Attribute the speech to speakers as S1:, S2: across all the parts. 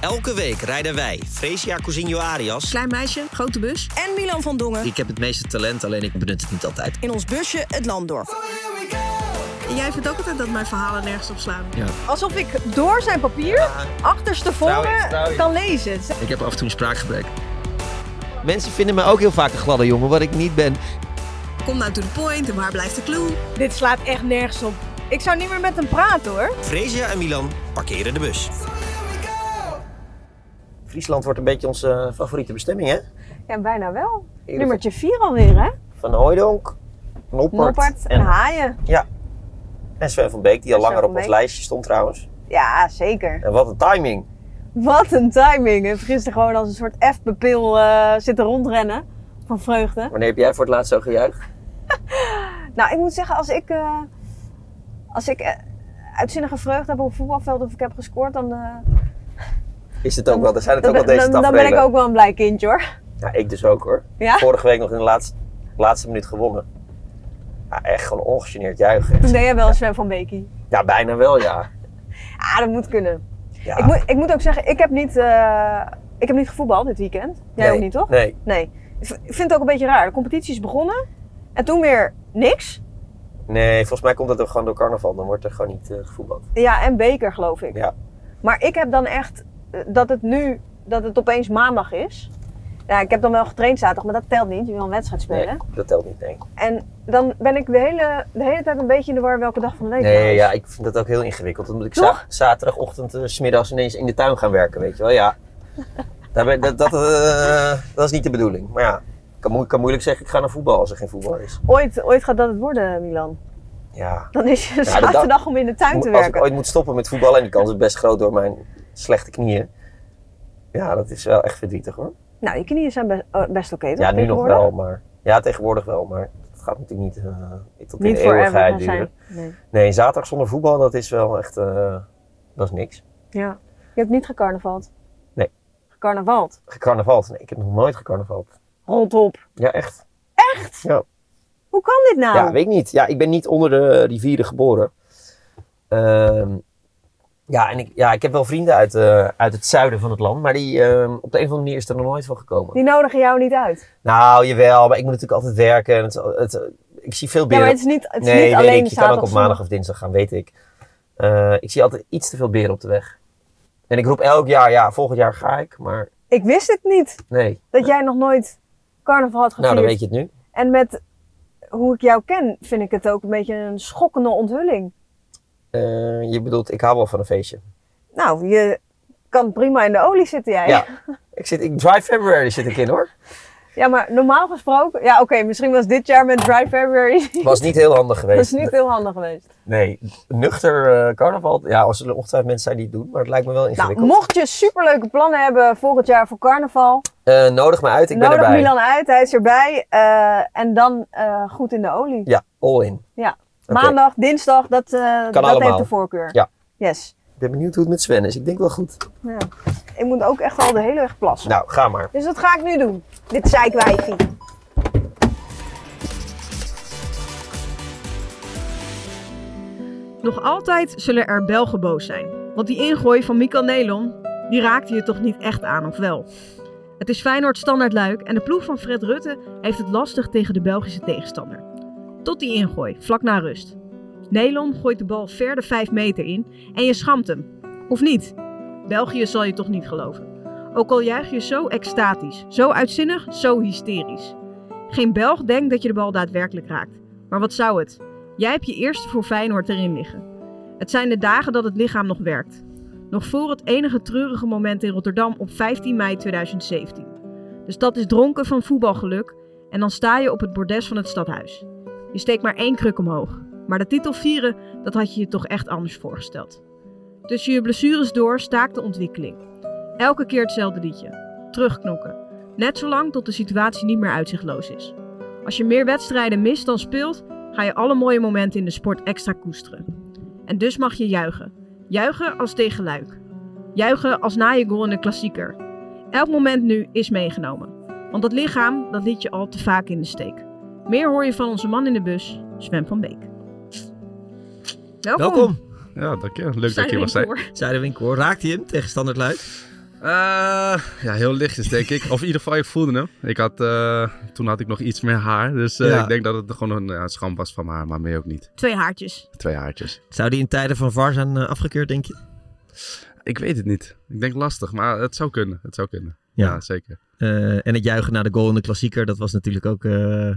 S1: Elke week rijden wij Fresia Cousinho Arias.
S2: Klein meisje, grote bus.
S3: en Milan van Dongen
S1: Ik heb het meeste talent, alleen ik benut het niet altijd.
S3: in ons busje het land door.
S2: En jij vindt ook altijd dat mijn verhalen nergens op slaan.
S3: Alsof ik door zijn papier
S1: Trouwens,
S3: achterstevoren
S1: trouwens.
S3: kan lezen.
S1: Ik heb af en toe een spraakgebrek. Mensen vinden me ook heel vaak een gladde jongen, wat ik niet ben.
S2: Kom nou to the point en waar blijft de clue?
S3: Dit slaat echt nergens op. Ik zou niet meer met hem praten hoor.
S1: Fresia en Milan parkeren de bus. Friesland wordt een beetje onze eh, favoriete bestemming, hè?
S3: Ja, bijna wel.
S1: Eerlijk.
S3: Nummertje 4 alweer hè?
S1: Van Hooijdonk, Noppert,
S3: Noppert en Haaien.
S1: Ja. En Sven van Beek, die al
S3: Sven
S1: langer
S3: van
S1: op ons
S3: Beek.
S1: lijstje stond trouwens.
S3: Ja, zeker.
S1: En wat een timing.
S3: Wat een timing. Heeft gisteren gewoon als een soort F-pupil eh, zitten rondrennen. Van vreugde.
S1: Wanneer heb jij voor het laatst zo gejuicht?
S3: Nou, ik moet zeggen, als ik, eh, als ik eh, uitzinnige vreugde heb op het voetbalveld of ik heb gescoord, dan, eh,
S1: Is het ook wel, er zijn het
S3: dan,
S1: ook wel
S3: ben-
S1: deze
S3: dan, dan ben ik
S1: tafereelen.
S3: ook wel een blij kindje hoor.
S1: Ja, ik dus ook hoor.
S3: Ja?
S1: Vorige week nog in de laatste, laatste minuut gewonnen. Ja, echt gewoon ongegeneerd juichen.
S3: Toen deed jij wel Sven van Beekie.
S1: Ja, bijna wel ja.
S3: Ah, dat moet kunnen.
S1: ja.
S3: Ik, moet, ik moet ook zeggen, ik heb niet, eh, ik heb niet gevoetbald dit weekend. Jij
S1: Nee,
S3: ook niet, toch?
S1: Nee.
S3: Nee. Ik v- ik vind het ook een beetje raar. De competitie is begonnen en toen weer niks.
S1: nee, volgens mij komt dat ook gewoon door carnaval. Dan wordt er gewoon niet eh, gevoetbald.
S3: Ja, en beker geloof ik.
S1: Ja.
S3: Maar ik heb dan echt eh, dat het nu, dat het opeens maandag is. Ja, ik heb dan wel getraind zaterdag, maar dat telt niet. Je wil een wedstrijd
S1: Nee,
S3: spelen.
S1: dat telt niet, nee.
S3: En dan ben ik de hele, de hele tijd een beetje in de war welke dag van de week het
S1: Nee,
S3: is.
S1: ja, ik vind dat ook heel ingewikkeld. Dan moet ik
S3: Toch?
S1: za- zaterdagochtend, eh, 's smiddags ineens in de tuin gaan werken, weet je wel. Ja, Daar ben- dat, dat, eh, dat is niet de bedoeling. Maar ja, ik kan, moe- ik kan moeilijk zeggen ik ga naar voetbal als er geen voetbal is.
S3: Ooit, ooit gaat dat het worden, Milan.
S1: Ja.
S3: Dan is je
S1: de dag-
S3: zaterdag om in de tuin te
S1: Als ik
S3: werken.
S1: ooit moet stoppen met voetballen, en die kans is best groot door mijn slechte knieën. Ja, dat is wel echt verdrietig hoor.
S3: Nou, je knieën zijn best, eh, best oké, toch?
S1: Ja, nu nog
S3: tegenwoordig?
S1: wel, maar... Ja, tegenwoordig wel, maar het gaat natuurlijk niet eh, tot in
S3: Niet
S1: de
S3: voor ever
S1: eeuwigheid
S3: zijn.
S1: duren.
S3: Nee.
S1: Nee, zaterdag zonder voetbal, dat is wel echt... eh, dat is niks.
S3: Ja. Je hebt niet gecarnavald?
S1: Nee.
S3: Gecarnavald?
S1: Gecarnavald? Nee, ik heb nog nooit gecarnavald.
S3: Rond op.
S1: Ja, echt.
S3: Echt?
S1: Ja.
S3: Hoe kan dit nou?
S1: Ja, weet ik niet. Ja, ik ben niet onder de rivieren geboren. Ehm, ja, en ik, ja, ik heb wel vrienden uit, eh, uit het zuiden van het land, maar die, ehm, op de een of andere manier is er nog nooit van gekomen.
S3: Die nodigen jou niet uit.
S1: Nou, jawel, maar ik moet natuurlijk altijd werken. en Het, het, ik zie veel
S3: Ja,
S1: beren.
S3: maar het is niet, het is
S1: nee,
S3: niet
S1: weet
S3: alleen
S1: ik. Je kan ook op
S3: zondag.
S1: maandag of dinsdag gaan, weet ik. Eh, ik zie altijd iets te veel beren op de weg. En ik roep elk jaar, ja, volgend jaar ga ik, maar
S3: Ik wist het niet
S1: nee.
S3: dat jij nog nooit carnaval had gevierd.
S1: Nou, dan weet je het nu.
S3: En met hoe ik jou ken, vind ik het ook een beetje een schokkende onthulling.
S1: Eh, je bedoelt, ik hou wel van een feestje.
S3: Nou, je kan prima in de olie zitten jij.
S1: Ja. Ik zit, ik, dry February zit ik in hoor.
S3: Ja, maar normaal gesproken... Ja, oké, misschien was dit jaar met Dry February...
S1: Was niet heel handig
S3: dat
S1: geweest.
S3: is niet heel handig geweest.
S1: Nee, nuchter eh, carnaval. Ja, als er ongetwijfeld mensen zijn die het doen, maar het lijkt me wel
S3: Nou,
S1: ingewikkeld.
S3: mocht je superleuke plannen hebben volgend jaar voor carnaval...
S1: Eh, nodig me uit, ik ben
S3: nodig
S1: erbij.
S3: Milan uit, hij is erbij. eh, en dan eh, goed in de olie.
S1: Ja, all in.
S3: Ja.
S1: Oké.
S3: Maandag, dinsdag, dat, eh dat
S1: allemaal.
S3: heeft de voorkeur.
S1: Ja.
S3: Yes.
S1: Ik ben benieuwd hoe het met Sven is. Ik denk wel goed.
S3: Ja. Ik moet ook echt al de hele weg plassen.
S1: Nou, ga maar.
S3: Dus dat ga ik nu doen. Dit zeikwijfie.
S2: Nog altijd zullen er Belgen boos zijn. Want die ingooi van Mikael Nelon, die raakte je toch niet echt aan, of wel? Het is Feyenoord standaard luik en de ploeg van Fred Rutte heeft het lastig tegen de Belgische tegenstander. Tot die ingooi, vlak na rust. Nelon gooit de bal ver de 5 meter in en je schamt hem. Of niet? België zal je toch niet geloven. Ook al juich je zo extatisch, zo uitzinnig, zo hysterisch. Geen Belg denkt dat je de bal daadwerkelijk raakt. Maar wat zou het? Jij hebt je eerste voor Feyenoord erin liggen. Het zijn de dagen dat het lichaam nog werkt. Nog voor het enige treurige moment in Rotterdam op 15 mei 2017. De stad is dronken van voetbalgeluk en dan sta je op het bordes van het stadhuis. Je steekt maar één kruk omhoog. Maar de titel vieren, dat had je je toch echt anders voorgesteld. Tussen je blessures door staakt de ontwikkeling. Elke keer hetzelfde liedje. Terugknokken. Net zolang tot de situatie niet meer uitzichtloos is. Als je meer wedstrijden mist dan speelt, ga je alle mooie momenten in de sport extra koesteren. En dus mag je juichen. Juichen als tegen Luik. Juichen als na je goal in een klassieker. Elk moment nu is meegenomen. Want dat lichaam, dat liet je al te vaak in de steek. Meer hoor je van onze man in de bus, Sven van Beek. Welkom.
S4: Ja, dank je. Leuk
S2: Zijn
S4: dat
S5: Oh.
S4: je
S2: we
S4: was.
S2: in
S4: hè.
S2: koor?
S1: Zuiderwinkel hoor. Raakt hij hem tegen standaard luik?
S4: Eh, ja, heel lichtjes denk ik. Of in ieder geval, ik voelde hem. Ik had, eh, toen had ik nog iets meer haar. Dus eh,
S1: Ja.
S4: ik denk dat het gewoon een ja, scham was van mijn haar, maar meer ook niet.
S3: Twee haartjes.
S4: Twee haartjes.
S5: Zou die in tijden van VAR zijn eh, afgekeurd, denk je?
S4: Ik weet het niet. Ik denk lastig, maar het zou kunnen. Het zou kunnen. Ja,
S5: Ja.
S4: zeker.
S5: Eh, en het juichen naar de goal in de klassieker, dat was natuurlijk ook... eh,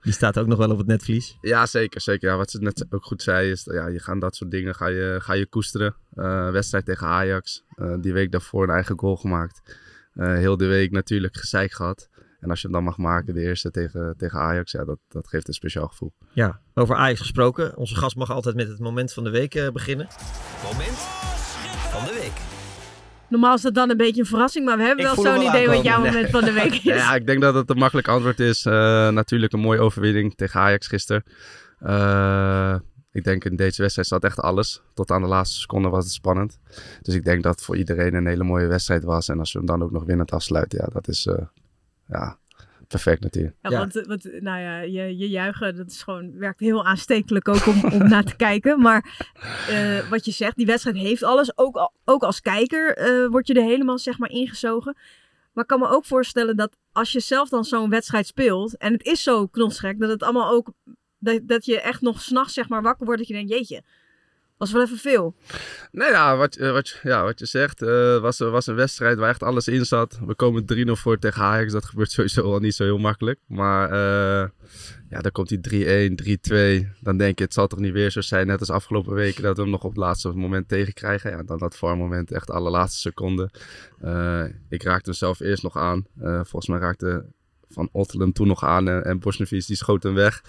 S5: die staat ook nog wel op het netvlies.
S4: Ja, zeker, zeker. Ja, wat ze net ook goed zei is, ja, je gaat dat soort dingen ga je, ga je koesteren. Eh, wedstrijd tegen Ajax, eh, die week daarvoor een eigen goal gemaakt. Eh, heel de week natuurlijk gezeik gehad. En als je hem dan mag maken, de eerste tegen, tegen Ajax, ja, dat, dat geeft een speciaal gevoel.
S5: Ja, over Ajax gesproken. Onze gast mag altijd met het moment van de week eh, beginnen. Moment van de week.
S3: Normaal is dat dan een beetje een verrassing, maar we hebben
S1: Ik
S3: wel
S1: voel hem
S3: zo'n
S1: wel
S3: idee wat
S1: aankomen.
S3: jouw moment van de week is.
S4: Nou Ja, ik denk dat het een makkelijk antwoord is. Eh, natuurlijk een mooie overwinning tegen Ajax gisteren. Eh, ik denk in deze wedstrijd zat echt alles. Tot aan de laatste seconde was het spannend. Dus ik denk dat het voor iedereen een hele mooie wedstrijd was. En als we hem dan ook nog winnend afsluiten, ja, dat is eh, ja, perfect natuurlijk.
S3: Ja,
S5: Ja.
S3: Want, eh, want, eh, nou ja, je, je juichen, dat is gewoon, werkt heel aanstekelijk ook om, om naar te kijken. Maar eh, wat je zegt, die wedstrijd heeft alles. Ook, al- ook als kijker eh, word je er helemaal zeg maar, ingezogen. Maar ik kan me ook voorstellen dat als je zelf dan zo'n wedstrijd speelt... en het is zo knotsgek, dat het allemaal ook... dat, dat je echt nog s'nachts zeg maar, wakker wordt dat je denkt... jeetje, was wel even veel.
S4: Nou ja, wat, eh, wat, je- ja, wat je zegt, eh was, was een wedstrijd waar echt alles in zat. We komen 3-0 voor tegen Ajax, dat gebeurt sowieso al niet zo heel makkelijk. Maar eh, ja, dan komt die 3-1, 3-2. Dan denk je, het zal toch niet weer zo zijn, net als afgelopen weken, dat we hem nog op het laatste moment tegenkrijgen. Ja, dan dat moment echt alle laatste seconden. Eh, ik raakte hem zelf eerst nog aan. Eh, volgens mij raakte Van Ottelen toen nog aan eh, en, en Bosnevies, die schoot hem weg.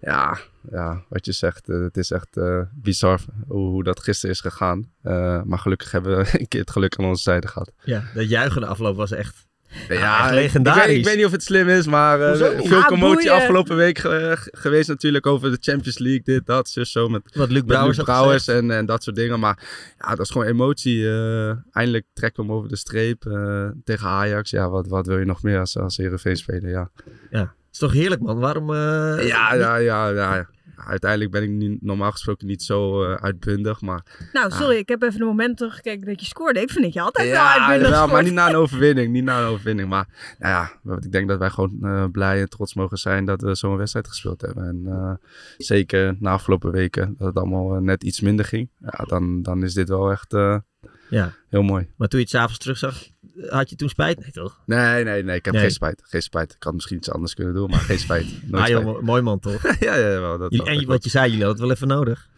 S4: Ja, ja, wat je zegt, eh, het is echt eh, bizar hoe, hoe dat gisteren is gegaan. Eh, maar gelukkig hebben we een keer het geluk aan onze zijde gehad.
S5: Ja, dat juichen de afloop was echt...
S4: Ja,
S5: echt
S4: ik-
S5: legendarisch.
S4: Ik, weet, ik weet niet of het slim is, maar eh,
S5: Hoezo niet?
S4: veel
S3: Ah,
S4: commotie
S3: boeien.
S4: afgelopen week eh, g- geweest natuurlijk over de Champions League, dit, dat, zus, zo. Met,
S5: Wat Luc
S4: met Luc
S5: Brouwers had
S4: Brouwers
S5: dus gezegd.
S4: en, en dat soort dingen. Maar ja, dat is gewoon emotie. eh. eindelijk trekken we hem over de streep eh, tegen Ajax. Ja, wat, wat wil je nog meer als, als Heerenveen speler? Ja.
S5: Ja, is toch heerlijk man. Waarom... eh,
S4: Ja, ja, ja, ja, ja. Uiteindelijk ben ik niet, normaal gesproken niet zo eh, uitbundig, maar
S3: Nou, sorry, ik heb even een moment teruggekeken dat je scoorde. Ik vind dat je altijd wel
S4: Ja,
S3: uitbundig
S4: jawel, maar
S3: scoort.
S4: niet na een overwinning. Niet na een overwinning. Maar nou ja, want ik denk dat wij gewoon eh, blij en trots mogen zijn dat we zo'n wedstrijd gespeeld hebben. En eh, zeker na afgelopen weken, dat het allemaal eh, net iets minder ging. Ja, dan, dan is dit wel echt eh,
S5: Ja.
S4: heel mooi.
S5: Maar toen je het s'avonds terugzag, had je toen spijt? Nee toch?
S4: Nee, nee, nee. Ik heb
S5: Nee.
S4: geen spijt. Geen spijt. Ik had misschien iets anders kunnen doen, maar geen spijt. Nooit
S5: Ah joh,
S4: spijt.
S5: mo- mooi man toch?
S4: ja, ja, wel. Dat,
S5: Jullie-
S4: wel,
S5: en
S4: dat
S5: je- wat je zei, jullie hadden het wel even nodig.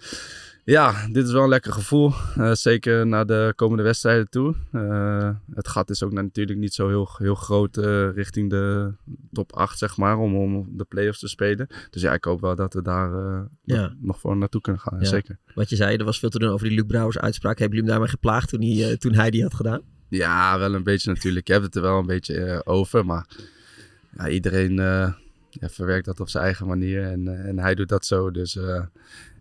S4: Ja, dit is wel een lekker gevoel. Eh, zeker naar de komende wedstrijden toe. Eh, het gat is ook na- natuurlijk niet zo heel, heel groot eh, richting de top 8, zeg maar, om, om de play-offs te spelen. Dus ja, ik hoop wel dat we daar eh,
S5: Ja.
S4: nog, nog voor naartoe kunnen gaan.
S5: Ja.
S4: Zeker.
S5: Wat je zei, er was veel te doen over die Luc Brouwers uitspraak. Hebben jullie hem daarmee geplaagd toen hij, eh, toen hij die had gedaan?
S4: Ja, wel een beetje natuurlijk. Je hebt het er wel een beetje eh, over, maar ja, iedereen eh, ja, verwerkt dat op zijn eigen manier en, eh, en hij doet dat zo. Dus eh,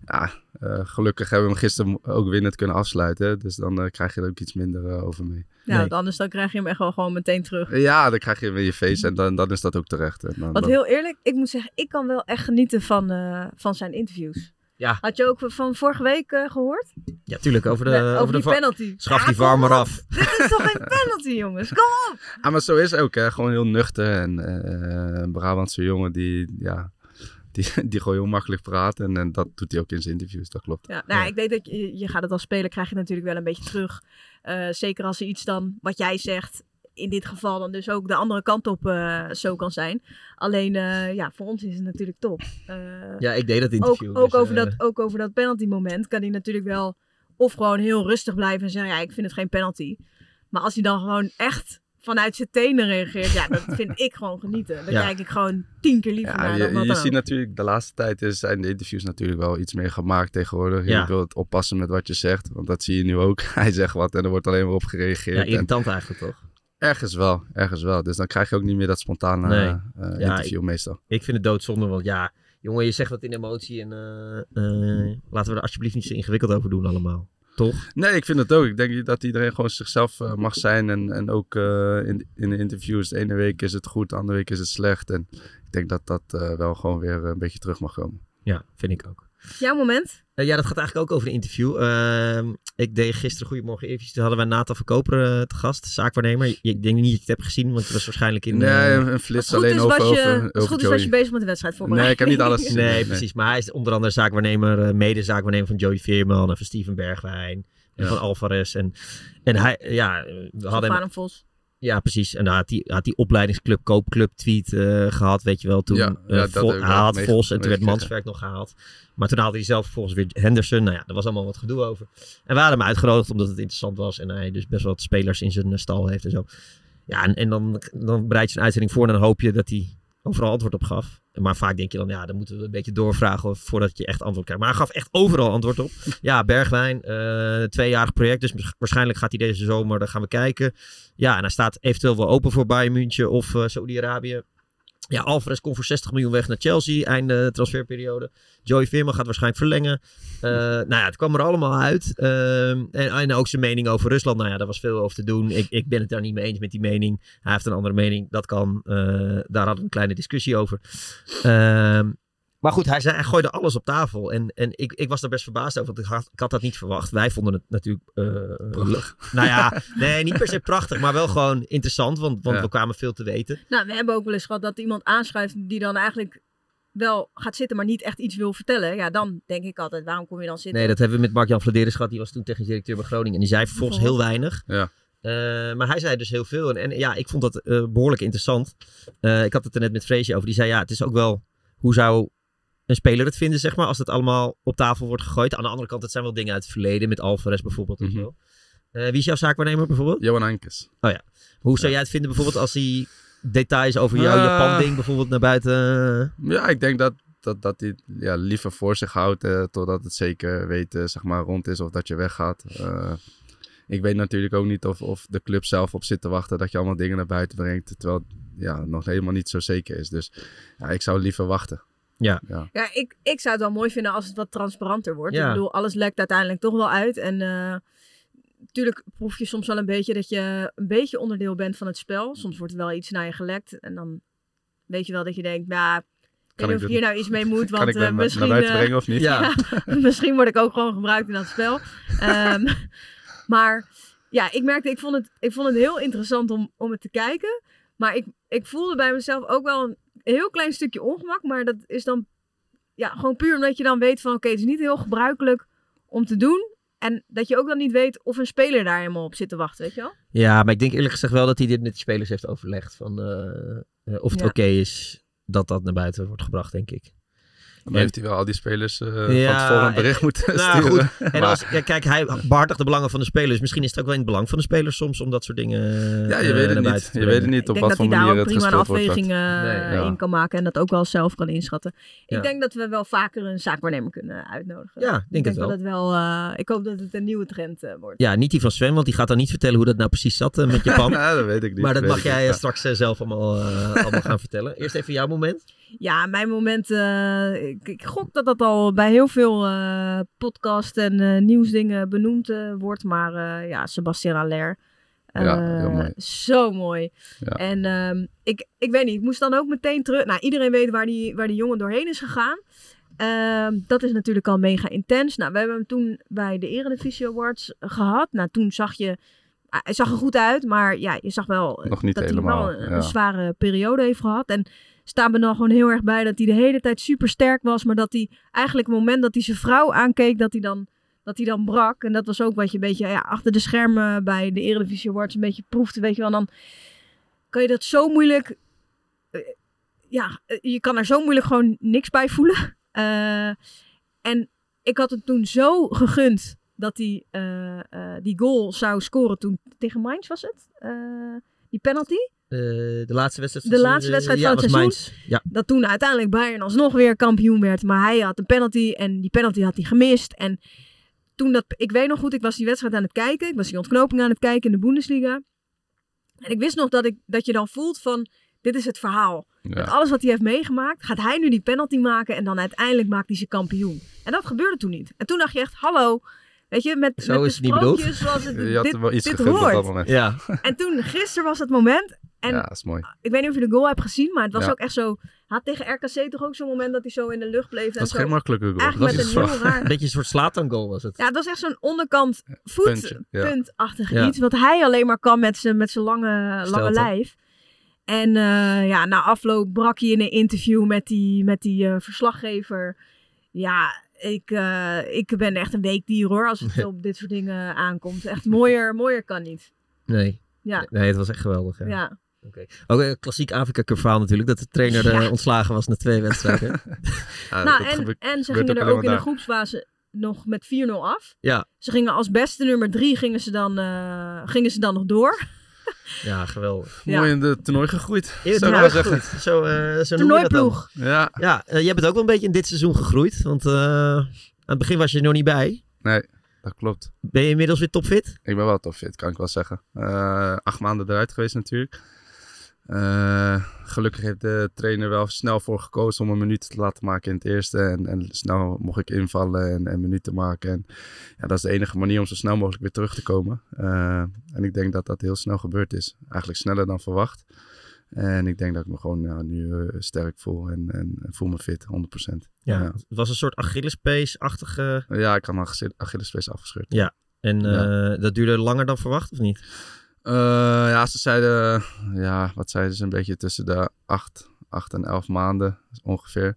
S4: ja, eh, gelukkig hebben we hem gisteren ook winnend kunnen afsluiten. Dus dan eh, krijg je er ook iets minder eh, over mee.
S3: Ja,
S2: Nou,
S5: Nee.
S3: want anders dan krijg je hem echt wel gewoon meteen terug.
S4: Ja, dan krijg je hem in je feest en dan, dan is dat ook terecht. En dan,
S3: Want
S4: dan-
S3: heel eerlijk, ik moet zeggen, ik kan wel echt genieten van, eh, van zijn interviews.
S5: Ja.
S3: Had je ook van vorige week eh, gehoord?
S5: Ja, tuurlijk. Over de,
S3: Nee, over,
S5: over de
S3: die
S5: va-
S3: penalty.
S5: Schaf
S3: Ja,
S5: die
S3: kom
S5: VAR maar
S3: op.
S5: af.
S3: Dit is toch geen penalty, jongens? Kom op!
S4: Ah, maar zo is het ook, hè. Gewoon heel nuchter en eh, een Brabantse jongen die, ja, die, die gewoon heel makkelijk praat. En, en dat doet hij ook in zijn interviews, dat klopt.
S3: Ja, nou,
S5: Ja.
S3: ik weet dat je, je gaat het als speler, krijg je het natuurlijk wel een beetje terug. Eh, zeker als er iets dan, wat jij zegt, in dit geval dan dus ook de andere kant op eh, zo kan zijn. Alleen, eh, ja, voor ons is het natuurlijk top. Eh,
S5: Ja, ik deed dat
S3: ook,
S5: interview.
S3: ook,
S5: dus,
S3: over
S5: eh,
S3: dat, ook over dat penalty moment kan hij natuurlijk wel of gewoon heel rustig blijven en zeggen, ja, ik vind het geen penalty. Maar als hij dan gewoon echt vanuit zijn tenen reageert, ja, dat vind ik gewoon genieten. Dan
S5: Ja.
S3: kijk ik gewoon tien keer liever
S4: Ja,
S3: naar dan
S4: je,
S3: wat
S4: je
S3: dan
S4: ziet
S3: ook.
S4: natuurlijk, de laatste tijd is, zijn de interviews natuurlijk wel iets meer gemaakt tegenwoordig.
S5: Ja.
S4: Je wilt oppassen met wat je zegt, want dat zie je nu ook. Hij zegt wat en er wordt alleen maar op
S5: Ja,
S4: gereageerd. en
S5: irritant eigenlijk toch?
S4: ergens wel, ergens wel. Dus dan krijg je ook niet meer dat spontane
S5: Nee.
S4: eh,
S5: Ja,
S4: interview meestal.
S5: Ik vind het doodzonde, want ja, jongen, je zegt wat in emotie. En eh, eh, laten we er alsjeblieft niet zo ingewikkeld over doen allemaal. Toch?
S4: Nee, ik vind het ook. Ik denk dat iedereen gewoon zichzelf eh, mag zijn. En, en ook eh, in, in de interviews. De ene week is het goed, de andere week is het slecht. En ik denk dat dat eh, wel gewoon weer een beetje terug mag komen.
S5: Ja, vind ik ook.
S3: Jouw moment?
S5: Eh, Eh, ja, dat gaat eigenlijk ook over een interview. Ehm, ik deed gisteren Goedemorgen Eventjes. Toen hadden wij Nathan Verkoper eh, te gast, zaakwaarnemer. Ik- Ik denk niet dat je het hebt gezien, want het was waarschijnlijk in...
S4: Nee,
S5: eh,
S4: een een
S2: Als
S4: flits
S2: het goed
S4: alleen
S2: is,
S4: over,
S2: was
S4: over,
S2: je, als het
S4: over
S2: goed is,
S4: Joey.
S2: was je bezig met de wedstrijd voorbereid.
S4: Nee, ik heb niet alles gezien.
S5: Nee, precies. Maar hij is onder andere zaakwaarnemer, eh, mede zaakwaarnemer van Joey Veerman en van Steven Bergwijn. En
S4: Ja.
S5: van Alvarez. En, en hij, ja, eh, we hadden hem-
S2: Van Vos.
S5: ja, precies. En daar had hij had die opleidingsclub, koopclub tweet eh, gehad, weet je wel. Toen
S4: Ja,
S5: eh,
S4: ja, dat
S5: Vo-
S4: heb ik
S5: hij
S4: wel
S5: had
S4: meege-
S5: Vos en toen werd
S4: meegekregen.
S5: Manswerk nog gehaald. Maar toen haalde hij zelf vervolgens weer Henderson. Nou ja, daar was allemaal wat gedoe over. En we hadden hem uitgenodigd omdat het interessant was. En hij dus best wel wat spelers in zijn eh, stal heeft en zo. Ja, en, en dan, dan bereid je een uitzending voor en dan hoop je dat hij overal antwoord op gaf. Maar vaak denk je dan, ja, dan moeten we een beetje doorvragen voordat je echt antwoord krijgt. Maar hij gaf echt overal antwoord op. Ja, Bergwijn, eh, tweejarig project, dus waarsch- waarschijnlijk gaat hij deze zomer, dan gaan we kijken. Ja, en hij staat eventueel wel open voor Bayern München of eh Saudi-Arabië. Ja, Alvarez komt voor 60 miljoen weg naar Chelsea, einde transferperiode. Joey Veerman gaat waarschijnlijk verlengen. Eh, nou ja, het kwam er allemaal uit. Ehm, en, en ook zijn mening over Rusland, nou ja, daar was veel over te doen. Ik, ik ben het daar niet mee eens met die mening. Hij heeft een andere mening, dat kan. Eh, daar hadden we een kleine discussie over. Ehm, maar goed, hij, zei, hij gooide alles op tafel. En, en ik, ik was daar best verbaasd over, want ik had, ik had dat niet verwacht. Wij vonden het natuurlijk... eh, nou ja, nee, niet per se prachtig, maar wel gewoon interessant, want, want
S4: Ja.
S5: we kwamen veel te weten.
S2: Nou, we hebben ook wel eens gehad dat iemand aanschuift die dan eigenlijk wel gaat zitten, maar niet echt iets wil vertellen. Ja, dan denk ik altijd, waarom kom je dan zitten?
S5: Nee, dat hebben we met Mark-Jan Vladeris gehad, die was toen technisch directeur bij Groningen. En die zei vervolgens heel weinig.
S4: Ja.
S5: Eh, maar hij zei dus heel veel. En, en ja, ik vond dat eh, behoorlijk interessant. Eh, ik had het er net met Freesje over. Die zei, ja, het is ook wel... Hoe zou een speler het vinden, zeg maar, als het allemaal op tafel wordt gegooid? Aan de andere kant, het zijn wel dingen uit het verleden, met Alvarez bijvoorbeeld. of
S4: Mhm.
S5: zo. Eh, wie is jouw zaakwaarnemer bijvoorbeeld?
S4: Johan Henkes.
S5: Hoe zou jij het vinden bijvoorbeeld als hij details over jouw
S4: Eh.
S5: Japan-ding bijvoorbeeld naar buiten...
S4: Ja, ik denk dat, dat, dat hij ja, liever voor zich houdt eh, totdat het zeker weten zeg maar, rond is of dat je weggaat. Eh, ik weet natuurlijk ook niet of, of de club zelf op zit te wachten dat je allemaal dingen naar buiten brengt. Terwijl ja, het nog helemaal niet zo zeker is. Dus ja, ik zou liever wachten.
S2: Ja, ik, ik zou het wel mooi vinden als het wat transparanter wordt.
S5: Ja.
S2: Ik bedoel, alles lekt uiteindelijk toch wel uit. En eh natuurlijk proef je soms wel een beetje dat je een beetje onderdeel bent van het spel. Soms wordt er wel iets naar je gelekt. En dan weet je wel dat je denkt, nou, ik weet
S4: ik
S2: niet of
S4: dit-
S2: ik hier nou iets mee moet.
S4: kan
S2: Want
S4: ik
S2: eh,
S4: hem eh,
S2: misschien...
S4: naar buiten
S2: eh,
S4: brengen of niet?
S5: Ja.
S2: Misschien word ik ook gewoon gebruikt in dat spel. Ehm, maar ja, ik merkte, ik vond het, ik vond het heel interessant om, om het te kijken. Maar ik, ik voelde bij mezelf ook wel een heel klein stukje ongemak. Maar dat is dan ja, gewoon puur omdat je dan weet van oké, het is niet heel gebruikelijk om te doen. En dat je ook dan niet weet of een speler daar helemaal op zit te wachten, weet je wel?
S5: Ja, maar ik denk eerlijk gezegd wel dat hij dit met de spelers heeft overlegd. Van, eh, eh, of het
S2: Ja.
S5: oké is dat dat naar buiten wordt gebracht, denk ik.
S4: Dan heeft hij wel al die spelers eh van
S5: Ja,
S4: tevoren een
S5: en-
S4: bericht moeten
S5: Nou,
S4: sturen.
S5: En
S4: Maar-
S5: als, ja, kijk, hij behartigt de belangen van de spelers. Misschien is het ook wel in het belang van de spelers soms om dat soort dingen eh,
S4: ja, je weet het niet. Je weet het niet
S2: Ik
S4: op
S2: denk
S4: wat
S2: dat
S4: voor
S2: hij daar
S4: manier
S2: ook
S4: het
S2: prima een
S4: gespeeld wordt.
S2: afweging eh,
S5: Nee,
S4: ja.
S2: in kan maken. En dat ook wel zelf kan inschatten.
S5: Ja.
S2: Ik denk dat we wel vaker een zaakwaarnemer kunnen uitnodigen.
S5: Ja, ik denk het
S2: ik denk
S5: wel.
S2: dat het wel. eh, ik hoop dat het een nieuwe trend eh, wordt.
S5: Ja, niet die van Sven, want die gaat dan niet vertellen hoe dat nou precies zat eh, met Japan.
S4: Nou, dat weet ik niet.
S5: maar dat
S4: weet
S5: mag
S4: ik niet.
S5: jij eh,
S4: Ja.
S5: straks eh, zelf allemaal, eh, allemaal gaan vertellen. Eerst even jouw moment.
S2: Ja, mijn moment. eh, ik, ik gok dat dat al bij heel veel eh podcast en eh, nieuwsdingen benoemd eh, wordt. Maar eh, ja, Sebastian Aller. eh,
S4: Ja, heel mooi.
S2: Zo mooi.
S4: Ja.
S2: En ehm, ik, ik weet niet, ik moest dan ook meteen terug. Nou, iedereen weet waar die, waar die jongen doorheen is gegaan. Ehm, dat is natuurlijk al mega intens. Nou, we hebben hem toen bij de Eredivisie Awards gehad. Nou, toen zag je... ah, Hij zag er goed uit, maar ja, je zag wel eh,
S4: Nog niet
S2: dat
S4: helemaal,
S2: hij wel een,
S4: ja.
S2: een zware periode heeft gehad. En staan we dan gewoon heel erg bij dat hij de hele tijd super sterk was. Maar dat hij eigenlijk het moment dat hij zijn vrouw aankeek, dat hij dan, dat hij dan brak. En dat was ook wat je een beetje ja, achter de schermen bij de Eredivisie Awards een beetje proefde. Weet je wel, dan kan je dat zo moeilijk... eh, ja, eh, je kan er zo moeilijk gewoon niks bij voelen. Eh, en ik had het toen zo gegund dat hij eh, eh, die goal zou scoren toen tegen Mainz was het? Eh, die penalty?
S5: Eh, de laatste wedstrijd
S2: De laatste wedstrijd van het
S5: eh, ja, was
S2: seizoen.
S5: Mainz. Ja,
S2: dat toen uiteindelijk Bayern alsnog weer kampioen werd. Maar hij had een penalty en die penalty had hij gemist. En toen dat, ik weet nog goed, ik was die wedstrijd aan het kijken. Ik was die ontknoping aan het kijken in de Bundesliga. En ik wist nog dat, ik, dat je dan voelt van, dit is het verhaal.
S4: Ja.
S2: Met alles wat hij heeft meegemaakt, gaat hij nu die penalty maken. En dan uiteindelijk maakt hij ze kampioen. En dat gebeurde toen niet. En toen dacht je echt, hallo... Weet je, met,
S5: Zo
S2: met
S5: is
S2: de
S5: het niet bedoeld.
S2: sprookjes zoals het
S4: Je had
S2: dit,
S4: wel iets
S2: dit
S4: gegund op
S2: hoort.
S4: dat moment.
S5: ja.
S2: En toen, gisteren was het moment. En
S4: ja, dat is mooi.
S2: ik weet niet of je de goal hebt gezien, maar het was
S4: Ja.
S2: ook echt zo. Hij had tegen RKC toch ook zo'n moment dat hij zo in de lucht bleef. en
S4: Dat is
S2: zo.
S4: geen makkelijke goal.
S2: Eigenlijk
S4: dat
S2: met
S4: is
S2: een
S4: wel-
S2: heel raar.
S5: Een beetje een soort Slatan-goal was het.
S2: Ja, het was echt zo'n onderkant
S4: puntje, ja.
S2: voetpuntachtig
S5: Ja.
S2: iets. Wat hij alleen maar kan met zijn met zijn lange, lange
S5: Stelte.
S2: lijf. En eh, ja, na afloop brak hij in een interview met die, met die eh, verslaggever. Ja, ik, eh, ik ben echt een weekdier hoor, als het op dit soort dingen aankomt. Echt mooier, mooier kan niet.
S5: Nee.
S2: Ja.
S5: Nee, het was echt geweldig. Ja.
S2: Ja.
S5: Ook een klassiek Afrika Cup verhaal natuurlijk. Dat de trainer eh,
S2: Ja.
S5: ontslagen was na twee wedstrijden.
S4: Ja,
S2: nou,
S4: Ah, dat
S2: en,
S4: gebeurt-
S2: en ze gingen
S4: gebeurt ook
S2: er ook
S4: alleen
S2: in
S4: maar
S2: de
S4: daar.
S2: groepsfase nog met 4-0 af.
S5: Ja.
S2: Ze gingen als beste nummer drie gingen ze dan, eh, gingen ze dan nog door.
S5: ja, geweldig.
S2: Ja.
S4: Mooi in de toernooi gegroeid.
S5: Ja,
S4: Zo
S5: nou,
S4: wel zeggen.
S5: goed. Zo, eh zo noem je dat dan.
S2: Toernooiploeg.
S4: Ja,
S5: Ja, eh, jij bent ook wel een beetje in dit seizoen gegroeid. Want eh, aan het begin was je er nog niet bij.
S4: dat klopt.
S5: Ben je inmiddels weer topfit?
S4: Ik ben wel top fit, kan ik wel zeggen. Eh, acht maanden eruit geweest natuurlijk. Eh, gelukkig heeft de trainer wel snel voor gekozen om een minuut te laten maken in het eerste. En, en snel mocht ik invallen en, en minuten maken. En ja, dat is de enige manier om zo snel mogelijk weer terug te komen. Eh, en ik denk dat dat heel snel gebeurd is. Eigenlijk sneller dan verwacht. En ik denk dat ik me gewoon nou, nu eh, sterk voel en, en, en voel me fit, 100%.
S5: Ja.
S4: Ja.
S5: Het was een soort Achillespees-achtige...
S4: Ja, ik had mijn Achille- Achillespees afgescheurd.
S5: En eh,
S4: Ja.
S5: dat duurde langer dan verwacht, of niet?
S4: Eh, ja, ze zeiden, ja, wat zeiden ze, een beetje tussen de acht, acht en elf maanden ongeveer.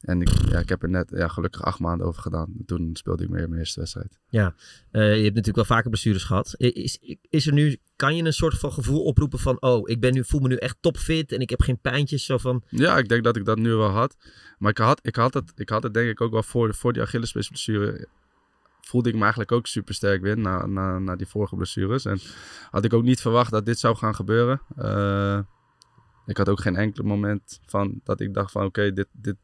S4: En ik, ja, ik heb er net, ja, gelukkig acht maanden over gedaan. Toen speelde ik meer mijn eerste wedstrijd.
S5: Eh, je hebt natuurlijk wel vaker blessures gehad. I- Is, is er nu, kan je een soort van gevoel oproepen van... Oh, ik ben nu, voel me nu echt topfit en ik heb geen pijntjes. Zo van,
S4: Ja, ik denk dat ik dat nu wel had. Maar ik had, ik had, het, ik had het denk ik ook wel voor, voor die Achillespeesblessure. Voelde ik me eigenlijk ook super sterk weer na, na, na die vorige blessures. En had ik ook niet verwacht dat dit zou gaan gebeuren. Eh, ik had ook geen enkel moment van dat ik dacht van oké, dit, dit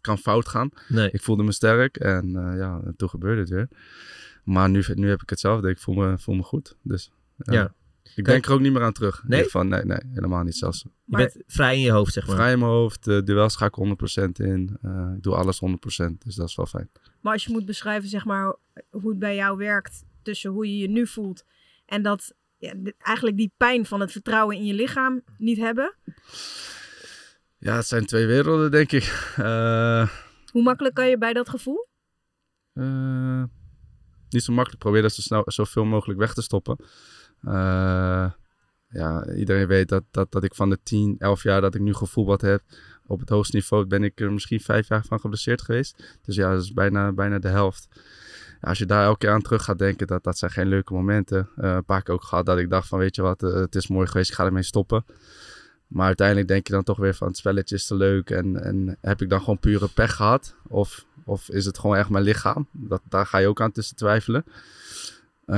S4: kan fout gaan.
S5: nee.
S4: Ik voelde me sterk en eh, ja, en toen gebeurde het weer. Maar nu, nu heb ik hetzelfde. Ik voel me, voel me goed. Dus ja.
S5: Ja.
S4: ik
S5: Kijk.
S4: denk er ook niet meer aan terug.
S5: Nee?
S4: Nee? Van, nee, nee, helemaal niet zelfs.
S5: Je
S2: Maar-
S5: bent vrij in je hoofd, zeg maar.
S4: Vrij in mijn hoofd, eh, duels ga ik 100% in. Eh, ik doe alles 100%, dus dat is wel fijn.
S2: Maar als je moet beschrijven, zeg maar, hoe het bij jou werkt tussen hoe je je nu voelt en dat ja, d- eigenlijk die pijn van het vertrouwen in je lichaam niet hebben.
S4: Ja, het zijn twee werelden, denk ik. Eh,
S2: Hoe makkelijk kan je bij dat gevoel?
S4: eh, niet zo makkelijk. Probeer dat zo snel, zoveel mogelijk weg te stoppen. Eh, ja, iedereen weet dat, dat, dat ik van de 10, 11 jaar dat ik nu gevoetbald heb, op het hoogste niveau ben ik er misschien vijf jaar van geblesseerd geweest. Dus ja, dat is bijna, bijna de helft. Ja, als je daar elke keer aan terug gaat denken, dat, dat zijn geen leuke momenten. Eh, een paar keer ook gehad dat ik dacht van, weet je wat, eh, het is mooi geweest, ik ga ermee stoppen. Maar uiteindelijk denk je dan toch weer van, het spelletje is te leuk. En, en heb ik dan gewoon pure pech gehad? Of, of is het gewoon echt mijn lichaam? Dat, daar ga je ook aan tussen twijfelen. Eh,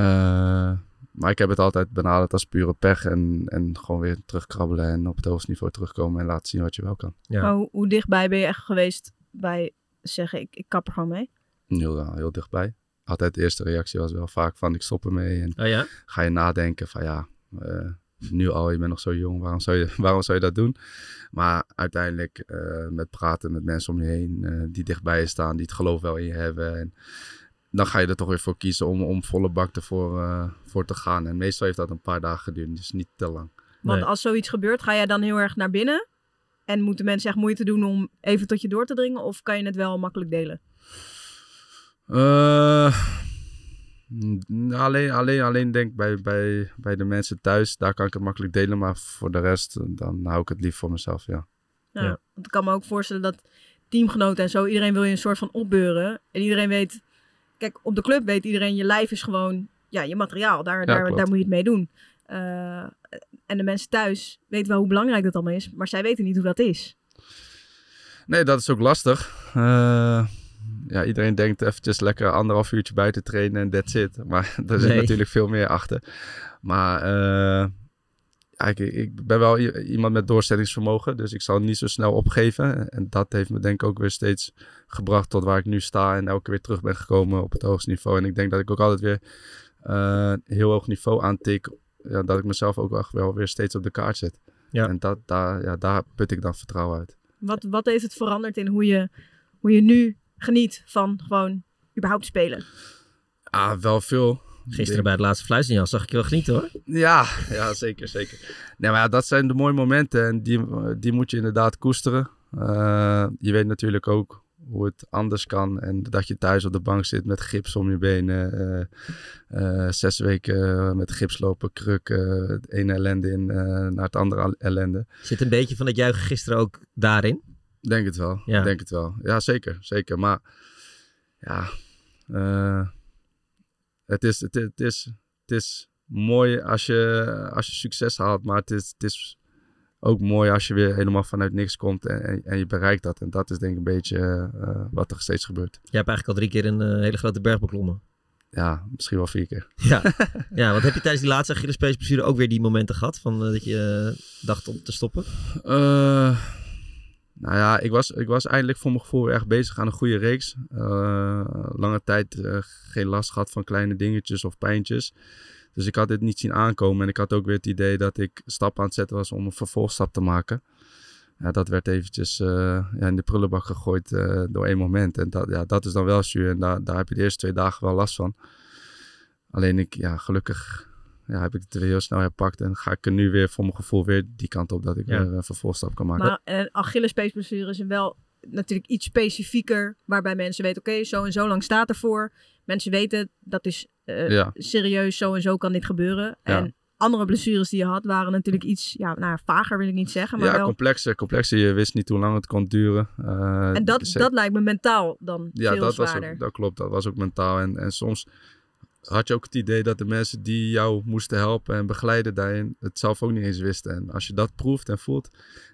S4: maar ik heb het altijd benaderd als pure pech. En, en gewoon weer terugkrabbelen en op het hoogste niveau terugkomen. En laten zien wat je wel kan.
S5: Ja.
S2: Maar hoe, hoe dichtbij ben je echt geweest bij zeggen, ik, ik kap er gewoon mee?
S4: Heel, eh, heel dichtbij. Altijd de eerste reactie was wel vaak van ik stop ermee. En
S5: Oh ja?
S4: ga je nadenken van ja, eh, nu al, je bent nog zo jong, waarom zou je, waarom zou je dat doen? Maar uiteindelijk eh, met praten met mensen om je heen eh, die dichtbij je staan, die het geloof wel in je hebben. En dan ga je er toch weer voor kiezen om, om volle bak ervoor eh, voor te gaan. En meestal heeft dat een paar dagen geduurd, dus niet te lang.
S2: Want
S5: Nee.
S2: als zoiets gebeurt, ga jij dan heel erg naar binnen en moeten mensen echt moeite doen om even tot je door te dringen? Of kan je het wel makkelijk delen?
S4: Eh, n- alleen, alleen, alleen denk bij, bij, bij de mensen thuis, daar kan ik het makkelijk delen. Maar voor de rest, eh, dan hou ik het lief voor mezelf, ja.
S2: Ja.
S5: Ja.
S2: Want ik kan me ook voorstellen dat teamgenoten en zo, iedereen wil je een soort van opbeuren. En iedereen weet, kijk, op de club weet iedereen, je lijf is gewoon ja, je materiaal. Daar, daar,
S4: klopt.
S2: daar moet je het mee doen. Eh, en de mensen thuis weten wel hoe belangrijk dat allemaal is, maar zij weten niet hoe dat is.
S4: Nee, dat is ook lastig. Eh, ja, iedereen denkt eventjes lekker anderhalf uurtje buiten trainen en that's it. Maar er zit
S5: Nee.
S4: natuurlijk veel meer achter. Maar eh, ja, ik, ik ben wel i- iemand met doorzettingsvermogen, dus ik zal niet zo snel opgeven. En dat heeft me denk ik ook weer steeds gebracht tot waar ik nu sta en elke keer weer terug ben gekomen op het hoogste niveau. En ik denk dat ik ook altijd weer eh, heel hoog niveau aantik, ja, dat ik mezelf ook echt wel weer steeds op de kaart zet.
S5: Ja.
S4: En dat, daar, ja, daar put ik dan vertrouwen uit.
S2: Wat, wat heeft het veranderd in hoe je, hoe je nu geniet van gewoon überhaupt spelen?
S4: Ah, wel veel.
S5: Gisteren bij het laatste fluitsignaal zag ik je wel genieten hoor.
S4: Ja, ja zeker, zeker. Nee, maar ja, dat zijn de mooie momenten en die, die moet je inderdaad koesteren. Eh, je weet natuurlijk ook hoe het anders kan en dat je thuis op de bank zit met gips om je benen. eh, eh, zes weken met gips lopen, krukken, het ene ellende in eh, naar het andere al- ellende.
S5: Zit een beetje van dat juichen gisteren ook daarin?
S4: Denk het wel,
S5: Ja.
S4: denk het wel. Ja, zeker, zeker. Maar ja, eh, het, is, het, is- het, is, het is mooi als je, als je succes haalt, maar het is, het is ook mooi als je weer helemaal vanuit niks komt en, en, en je bereikt dat. En dat is denk ik een beetje eh, wat er steeds gebeurt.
S5: Jij hebt eigenlijk al drie keer een eh, hele grote berg beklommen.
S4: Ja, misschien wel vier keer.
S5: Ja. ja, want heb je tijdens die laatste Achillespeesblessure ook weer die momenten gehad? Van, eh, dat je eh, dacht om te stoppen?
S4: Eh, nou ja, ik was, ik was eindelijk voor mijn gevoel weer echt bezig aan een goede reeks. Eh, lange tijd eh, geen last gehad van kleine dingetjes of pijntjes. Dus ik had dit niet zien aankomen. En ik had ook weer het idee dat ik stap aan het zetten was om een vervolgstap te maken. Ja, dat werd eventjes eh, ja, in de prullenbak gegooid eh, door één moment. En dat, ja, dat is dan wel zuur. En daar, daar heb je de eerste twee dagen wel last van. Alleen ik, ja, gelukkig ja, heb ik het weer heel snel herpakt. En ga ik er nu weer voor mijn gevoel weer die kant op dat ik
S5: Ja.
S4: weer een vervolgstap kan maken.
S2: Maar een Achillespeesblessure is wel natuurlijk iets specifieker. Waarbij mensen weten, oké, zo en zo lang staat ervoor. Mensen weten, dat is eh,
S4: Ja,
S2: serieus, zo en zo kan dit gebeuren.
S4: Ja.
S2: En andere blessures die je had, waren natuurlijk iets ja, nou, ja, vager, wil ik niet zeggen. Maar
S4: ja
S2: wel.
S4: complexer, complexer. Je wist niet hoe lang het kon duren. Eh,
S2: En dat,
S4: ze-
S2: dat lijkt me mentaal dan
S4: ja,
S2: veel
S4: dat, was
S2: zwaarder.
S4: ook, dat klopt. Dat was ook mentaal. En, en soms had je ook het idee dat de mensen die jou moesten helpen en begeleiden daarin het zelf ook niet eens wisten. En als je dat proeft en voelt,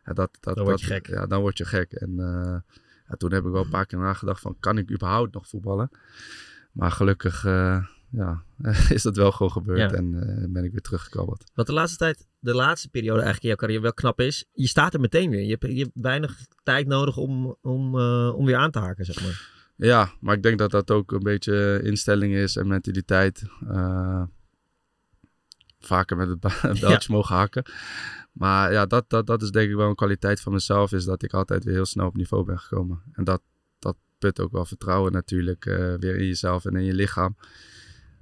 S4: ja, dat, dat,
S5: Dan word je
S4: dat-
S5: gek.
S4: Ja, dan word je gek. En eh, ja, toen heb ik wel een paar keer nagedacht van, kan ik überhaupt nog voetballen? Maar gelukkig eh, ja, is dat wel gewoon gebeurd
S5: Ja.
S4: en eh, ben ik weer teruggekrabbeld.
S5: Wat de laatste tijd, de laatste periode eigenlijk in jouw carrière wel knap is. Je staat er meteen weer. Je hebt, je hebt weinig tijd nodig om, om, eh, om weer aan te haken, zeg maar.
S4: Ja, maar ik denk dat dat ook een beetje instelling is en mentaliteit. Eh, vaker met het ba- beltje mogen hakken. Maar ja, dat, dat, dat is denk ik wel een kwaliteit van mezelf. Is dat ik altijd weer heel snel op niveau ben gekomen. En dat, dat put ook wel vertrouwen natuurlijk eh, weer in jezelf en in je lichaam.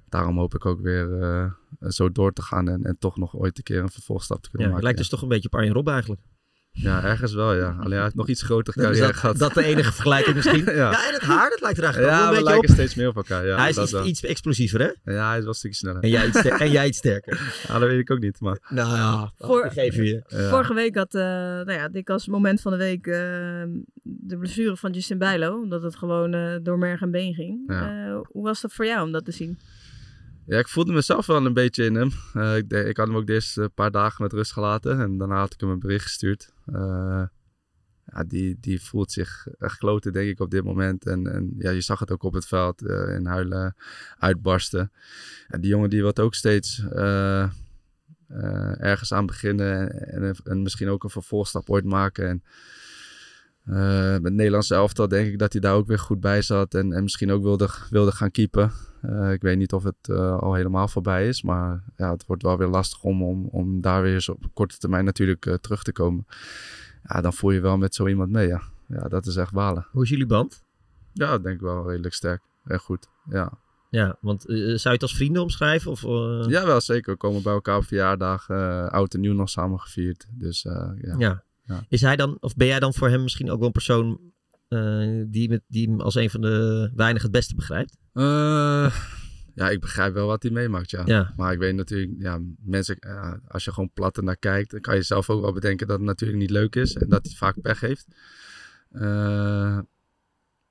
S4: Daarom hoop ik ook weer eh, zo door te gaan en, en toch nog ooit een keer een vervolgstap te
S5: Ja,
S4: kunnen
S5: het
S4: maken.
S5: lijkt dus toch een beetje op Arjen Rob eigenlijk.
S4: ja. Ja, ergens wel ja. Alleen hij heeft nog iets groter
S5: Dus
S4: carrière
S5: dat,
S4: gehad.
S5: dat de enige vergelijking misschien.
S4: Ja.
S5: ja. en het haar, dat lijkt er eigenlijk
S4: ja,
S5: ook wel
S4: we
S5: een beetje
S4: lijken
S5: op.
S4: steeds meer op elkaar. Ja,
S5: hij is
S4: dat
S5: iets,
S4: wel.
S5: iets explosiever, hè?
S4: Ja, hij is wel een stukje sneller.
S5: En jij iets, ster- en jij iets sterker.
S4: Ja, dat weet ik ook niet, maar...
S5: Nou ja,
S2: Voor-
S5: dat geven we je.
S4: Ja.
S2: Vorige week had eh nou ja, ik als moment van de week eh, de blessure van Justin Bijlo. Omdat het gewoon eh, door merg en been ging.
S4: Ja.
S2: Eh, hoe was dat voor jou om dat te zien?
S4: Ja, ik voelde mezelf wel een beetje in hem. Eh, ik, de- ik had hem ook de eerste eh, paar dagen met rust gelaten. En daarna had ik hem een bericht gestuurd. Eh, ja, die, die voelt zich echt kloten, denk ik, op dit moment. En, en ja, je zag het ook op het veld. eh, in huilen, uitbarsten. En die jongen die wordt ook steeds eh, eh, ergens aan beginnen. En, en, en misschien ook een vervolgstap ooit maken. En, eh, met het Nederlandse elftal denk ik dat hij daar ook weer goed bij zat. En, en misschien ook wilde, wilde gaan keepen. Eh, ik weet niet of het eh, al helemaal voorbij is. Maar ja, het wordt wel weer lastig om, om, om daar weer eens op korte termijn natuurlijk eh, terug te komen. Ja, dan voel je wel met zo iemand mee. Ja, ja dat is echt balen.
S5: Hoe is jullie band?
S4: Ja, dat denk ik wel redelijk sterk. Echt goed. Ja,
S5: Ja, want eh, zou je het als vrienden omschrijven? Of, eh,
S4: ja wel zeker. We komen bij elkaar op verjaardagen. eh, oud en nieuw nog samen gevierd. Dus eh, ja.
S5: Ja.
S4: Ja.
S5: Is hij dan, of ben jij dan voor hem misschien ook wel een persoon eh, die, met, die hem als een van de weinig het beste begrijpt?
S4: Eh, ja, ik begrijp wel wat hij meemaakt. Ja.
S5: Ja.
S4: Maar ik weet natuurlijk, ja, mensen, eh, als je gewoon plat naar kijkt, dan kan je zelf ook wel bedenken dat het natuurlijk niet leuk is en dat hij vaak pech heeft. Eh,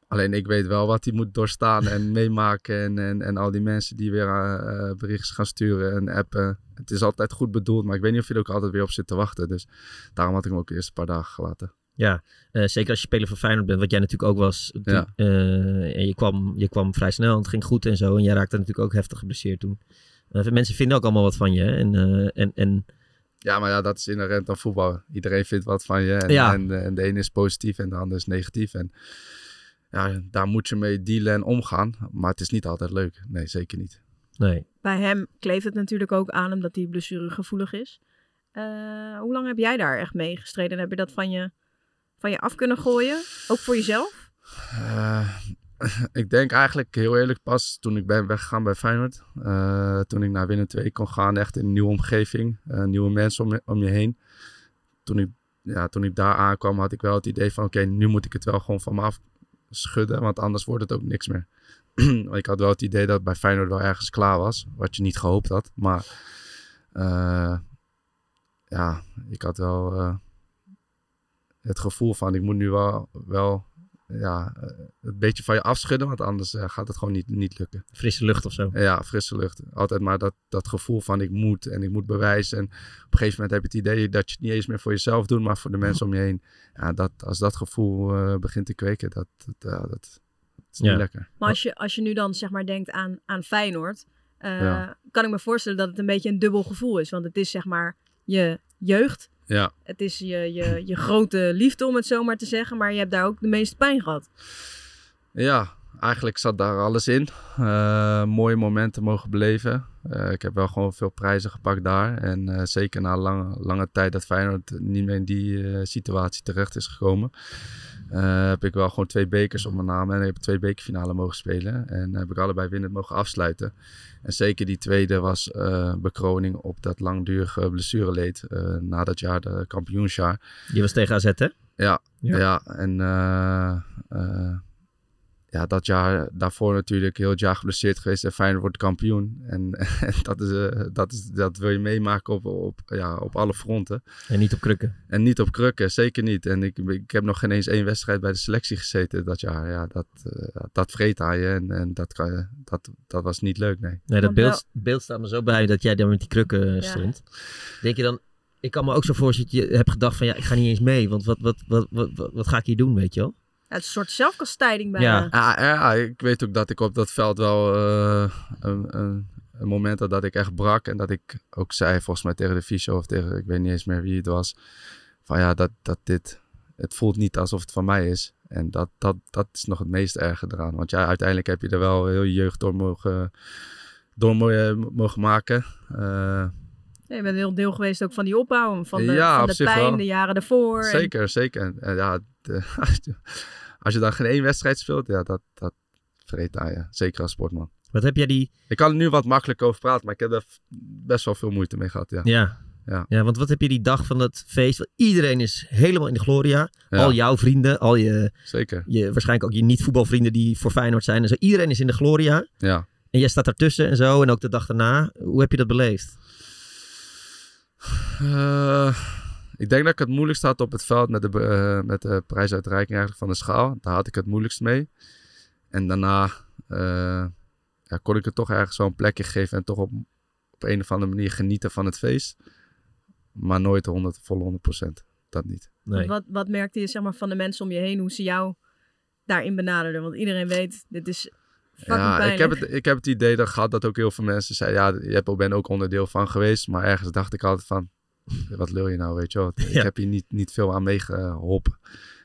S4: alleen ik weet wel wat hij moet doorstaan en meemaken en, en, en al die mensen die weer eh, eh, berichten gaan sturen en appen. Het is altijd goed bedoeld, maar ik weet niet of je er ook altijd weer op zit te wachten. Dus daarom had ik hem ook eerst een paar dagen gelaten.
S5: Eh, zeker als je speler van Feyenoord bent, wat jij natuurlijk ook was. toen,
S4: Ja.
S5: eh, en je kwam, je kwam vrij snel en het ging goed en zo. En jij raakte natuurlijk ook heftig geblesseerd toen. Eh, mensen vinden ook allemaal wat van je. hè? En, eh, en, en
S4: Ja, maar ja, dat is inherent aan voetbal. Iedereen vindt wat van je. En,
S5: Ja.
S4: en, eh, en de ene is positief en de ander is negatief. En ja, daar moet je mee dealen en omgaan. Maar het is niet altijd leuk. Nee, zeker niet.
S5: nee.
S2: Bij hem kleeft het natuurlijk ook aan omdat die blessure gevoelig is. Eh, hoe lang heb jij daar echt mee gestreden? En Heb je dat van je, van je af kunnen gooien? Ook voor jezelf?
S4: Eh, ik denk eigenlijk heel eerlijk pas toen ik ben weggegaan bij Feyenoord. Eh, toen ik naar Willem II kon gaan, echt in een nieuwe omgeving, eh, nieuwe mensen om, je- om je heen. Toen ik, ja, toen ik daar aankwam, had ik wel het idee van oké, nu moet ik het wel gewoon van me af schudden, want anders wordt het ook niks meer. Want ik had wel het idee dat het bij Feyenoord wel ergens klaar was, wat je niet gehoopt had. Maar eh, ja, ik had wel eh, het gevoel van ik moet nu wel, wel ja, eh, een beetje van je afschudden, want anders eh, gaat het gewoon niet, niet lukken.
S5: Frisse lucht of zo.
S4: En ja, frisse lucht. Altijd maar dat, dat gevoel van ik moet en ik moet bewijzen. En op een gegeven moment heb je het idee dat je het niet eens meer voor jezelf doet, maar voor de mensen om je heen. Ja, dat, als dat gevoel eh, begint te kweken, dat, dat, ja, dat, dat is niet
S5: Ja.
S4: lekker.
S2: Maar als je, als je nu dan zeg maar denkt aan, aan Feyenoord, eh,
S4: Ja.
S2: kan ik me voorstellen dat het een beetje een dubbel gevoel is. Want het is zeg maar je jeugd,
S4: Ja.
S2: het is je, je, je grote liefde om het zo maar te zeggen, maar je hebt daar ook de meeste pijn gehad.
S4: Ja, eigenlijk zat daar alles in. Eh, mooie momenten mogen beleven. Eh, ik heb wel gewoon veel prijzen gepakt daar. En eh, zeker na lange, lange tijd dat Feyenoord niet meer in die eh, situatie terecht is gekomen. eh, heb ik wel gewoon twee bekers op mijn naam. En ik heb twee bekerfinalen mogen spelen. En heb ik allebei winnend mogen afsluiten. En zeker die tweede was eh, bekroning op dat langdurige blessureleed. eh, na dat jaar, de kampioensjaar.
S5: Je was tegen AZ, hè? Ja.
S4: Ja, en eh, eh, ja, dat jaar daarvoor natuurlijk heel het jaar geblesseerd geweest. En Feyenoord wordt kampioen. En, en dat, is, eh, dat, is, dat wil je meemaken op, op, ja, op alle fronten.
S5: En niet op krukken.
S4: En niet op krukken, zeker niet. En ik, ik heb nog geen eens één wedstrijd bij de selectie gezeten dat jaar. Ja, dat, eh, dat vreet aan je en, en dat, kan, je- dat, dat was niet leuk, nee.
S5: Nee, dat
S2: Want wel-
S5: beeld, beeld staat me zo bij dat jij daar met die krukken eh,
S2: Ja.
S5: stond. Denk je dan, ik kan me ook zo voorstellen dat je hebt gedacht van ja, ik ga niet eens mee. Want wat, wat, wat, wat, wat, wat ga ik hier doen, weet je wel?
S2: Ja, het is een soort zelfkastijding bijna.
S5: Ja.
S4: Ja, Ah, ja, ik weet ook dat ik op dat veld wel eh, een, een, een moment had dat ik echt brak. En dat ik ook zei, volgens mij tegen de fysio of tegen, ik weet niet eens meer wie het was. Van ja, dat, dat dit, het voelt niet alsof het van mij is. En dat, dat, dat is nog het meest erge eraan. Want ja, uiteindelijk heb je er wel heel je jeugd door mogen, door mo- mogen maken. Eh,
S2: Ja, je bent een heel deel geweest ook van die opbouw, van de,
S4: Ja,
S2: van
S4: op
S2: de
S4: zich
S2: pijn,
S4: wel.
S2: de jaren daarvoor. En-
S4: Zeker, zeker. En, eh, ja, de- als, je, als je dan geen één wedstrijd speelt, ja, dat, dat vreet aan je. Zeker als sportman.
S5: Wat heb jij die
S4: Ik kan er nu wat makkelijker over praten, maar ik heb daar f- best wel veel moeite mee gehad. Ja.
S5: Ja. ja.
S4: Ja.
S5: want wat heb je die dag van dat feest? Want iedereen is helemaal in de gloria.
S4: Ja.
S5: Al jouw vrienden, al je,
S4: Zeker.
S5: je waarschijnlijk ook je niet-voetbalvrienden die voor Feyenoord zijn. En zo. Iedereen is in de gloria.
S4: Ja.
S5: En jij staat daartussen en zo. En ook de dag daarna. Hoe heb je dat beleefd?
S4: Eh, ik denk dat ik het moeilijkst had op het veld met de, be- eh, met de prijsuitreiking eigenlijk van de schaal. Daar had ik het moeilijkst mee. En daarna eh, ja, kon ik het toch ergens zo'n plekje geven en toch op, op een of andere manier genieten van het feest. Maar nooit 100, volle 100 Dat niet.
S5: Nee.
S2: Wat, wat merkte je zeg maar, van de mensen om je heen, hoe ze jou daarin benaderden? Want iedereen weet, dit is fucking
S4: Ja,
S2: pijnlijk.
S4: ik heb, het, ik heb het idee dat gehad dat ook heel veel mensen zeiden, ja, je hebt- ik ben ook onderdeel van geweest. Maar ergens dacht ik altijd van, wat lul je nou, weet je wel. Ik
S5: Ja.
S4: heb hier niet, niet veel aan meegeholpen.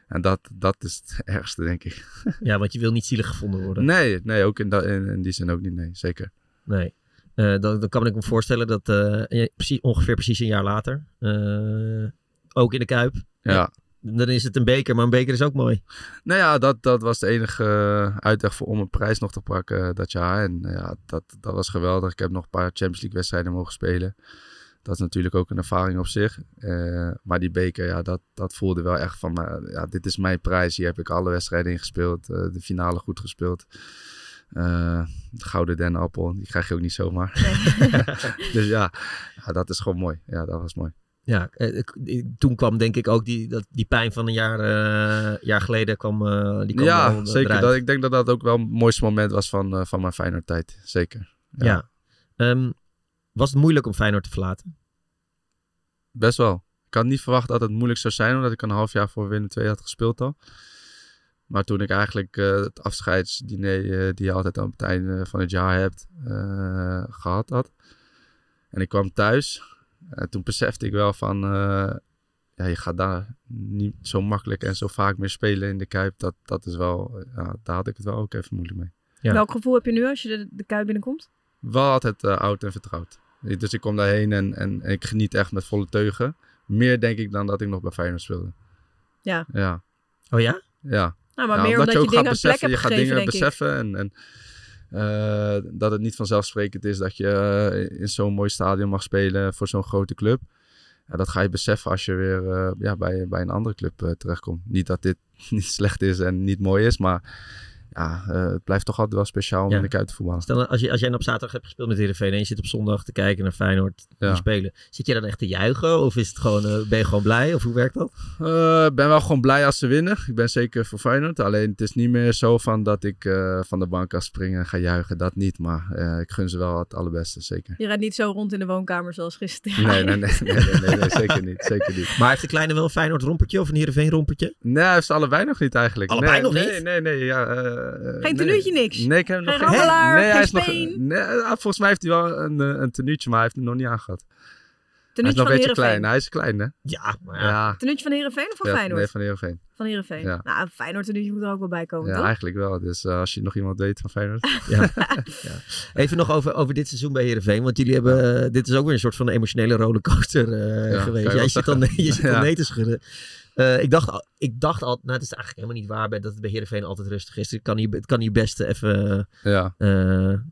S4: En dat, dat is het ergste, denk ik.
S5: Ja, want je wil niet zielig gevonden worden.
S4: Nee, nee ook in, da- in, in die zin ook niet, nee, zeker.
S5: Nee. Eh, dan, dan kan ik me voorstellen dat eh, ja, precies, ongeveer precies een jaar later. eh, ook in de Kuip.
S4: Ja.
S5: Ja. Dan is het een beker, maar een beker is ook mooi.
S4: Nou ja, dat, dat was de enige eh, uitweg voor om een prijs nog te pakken eh, dat jaar. En eh, ja, dat, dat was geweldig. Ik heb nog een paar Champions League wedstrijden mogen spelen. Dat is natuurlijk ook een ervaring op zich. Eh, maar die beker, ja, dat, dat voelde wel echt van, eh, ja, dit is mijn prijs. Hier heb ik alle wedstrijden in gespeeld. eh, de finale goed gespeeld. Eh, de gouden dennenappel, die krijg je ook niet zomaar. dus ja, ja, dat is gewoon mooi. Ja, dat was mooi.
S5: Ja, eh, ik- ik- toen kwam denk ik ook die, dat, die pijn van een jaar, eh, jaar geleden. Kwam, eh, die kwam wel,
S4: ja,
S5: eh,
S4: zeker.
S5: eruit.
S4: Dat, ik denk dat dat ook wel het mooiste moment was van, eh, van mijn Feyenoord tijd. Zeker.
S5: Ja. Ehm, was het moeilijk om Feyenoord te verlaten?
S4: Best wel. Ik had niet verwacht dat het moeilijk zou zijn, omdat ik een half jaar voor Willem II had gespeeld al. Maar toen ik eigenlijk eh, het afscheidsdiner eh, die je altijd aan het einde van het jaar hebt eh, gehad had. En ik kwam thuis. En toen besefte ik wel van, eh, ja, je gaat daar niet zo makkelijk en zo vaak meer spelen in de Kuip. Dat, dat is wel, ja, daar had ik het wel ook even moeilijk mee.
S5: Ja.
S2: Welk gevoel heb je nu als je de, de kuip binnenkomt?
S4: Wel altijd eh, oud en vertrouwd. Ik- Dus ik kom daarheen en, en, en ik geniet echt met volle teugen. Meer denk ik dan dat ik nog bij Feyenoord speelde.
S2: Ja.
S4: Ja,
S5: Oh ja?
S4: ja.
S2: Nou, maar
S4: Ja,
S2: meer omdat, je,
S4: ook
S2: dingen
S4: gaat
S2: een plek
S4: beseffen,
S2: hebt
S4: je gaat
S2: gegeven,
S4: dingen
S2: denk ik.
S4: beseffen en, en eh, dat het niet vanzelfsprekend is dat je eh, in zo'n mooi stadion mag spelen voor zo'n grote club. Ja, dat ga je beseffen als je weer eh, ja, bij, bij een andere club eh, terechtkomt. Niet dat dit niet slecht is en niet mooi is, maar ja, eh, het blijft toch altijd wel speciaal om
S5: Ja.
S4: in de kuit te voetballen.
S5: Stel, als, je, als jij nou op zaterdag hebt gespeeld met Heerenveen en je zit op zondag te kijken naar Feyenoord die
S4: Ja.
S5: spelen. Zit je dan echt te juichen of is het gewoon, eh, ben je gewoon blij of hoe werkt dat?
S4: Eh, Ik ben wel gewoon blij als ze winnen. Ik ben zeker voor Feyenoord. Alleen het is niet meer zo van dat ik eh, van de bank kan springen en ga juichen. Dat niet, maar eh, ik gun ze wel het allerbeste, zeker.
S2: Je rijdt niet zo rond in de woonkamer zoals gisteren.
S4: Nee, nee, nee, nee, nee, nee, nee, zeker niet. Zeker niet.
S5: Maar heeft de kleine wel een Feyenoord rompertje of een Heerenveen rompertje?
S4: Nee, hij heeft ze allebei nog niet eigenlijk.
S5: Allebei
S4: nee,
S5: nog
S4: nee,
S5: niet?
S4: Nee, nee, ja. eh, eh,
S2: Geen
S4: nee.
S2: tenuutje, niks?
S4: Nee, ik heb hem
S2: Geen
S4: nog
S2: rammelaar,
S4: Nee, hij
S2: geen
S4: is nog,
S2: speen?
S4: nee, ah, volgens mij heeft hij wel een, eh, een tenuutje, maar hij heeft hem nog niet aangehad. hij is
S2: Tenuutje
S4: nog
S2: van
S4: een beetje
S2: Heerenveen.
S4: klein. Hij is klein, hè?
S5: Ja, maar ja.
S4: Ja.
S2: Tenuutje van Heerenveen of van
S4: Ja,
S2: Feyenoord?
S4: Nee, van Heerenveen.
S2: Van Heerenveen.
S4: Ja.
S2: Nou, Feyenoord tenuutje moet er ook wel bij komen,
S4: Ja,
S2: Oh, toch?
S4: eigenlijk wel. Dus eh, als je nog iemand weet van Feyenoord.
S5: Even nog over, over dit seizoen bij Heerenveen. Want jullie hebben, eh, dit is ook weer een soort van emotionele rollercoaster eh,
S4: Ja,
S5: geweest.
S4: kan je
S5: Jij
S4: wel
S5: zit dan, je zit dan
S4: Ja.
S5: nee te schudden. Eh, ik dacht, al- ik dacht al, nou het is eigenlijk helemaal niet waar bij- dat het bij Heerenveen altijd rustig is. Het kan hier, het kan hier best even
S4: Ja.
S5: eh,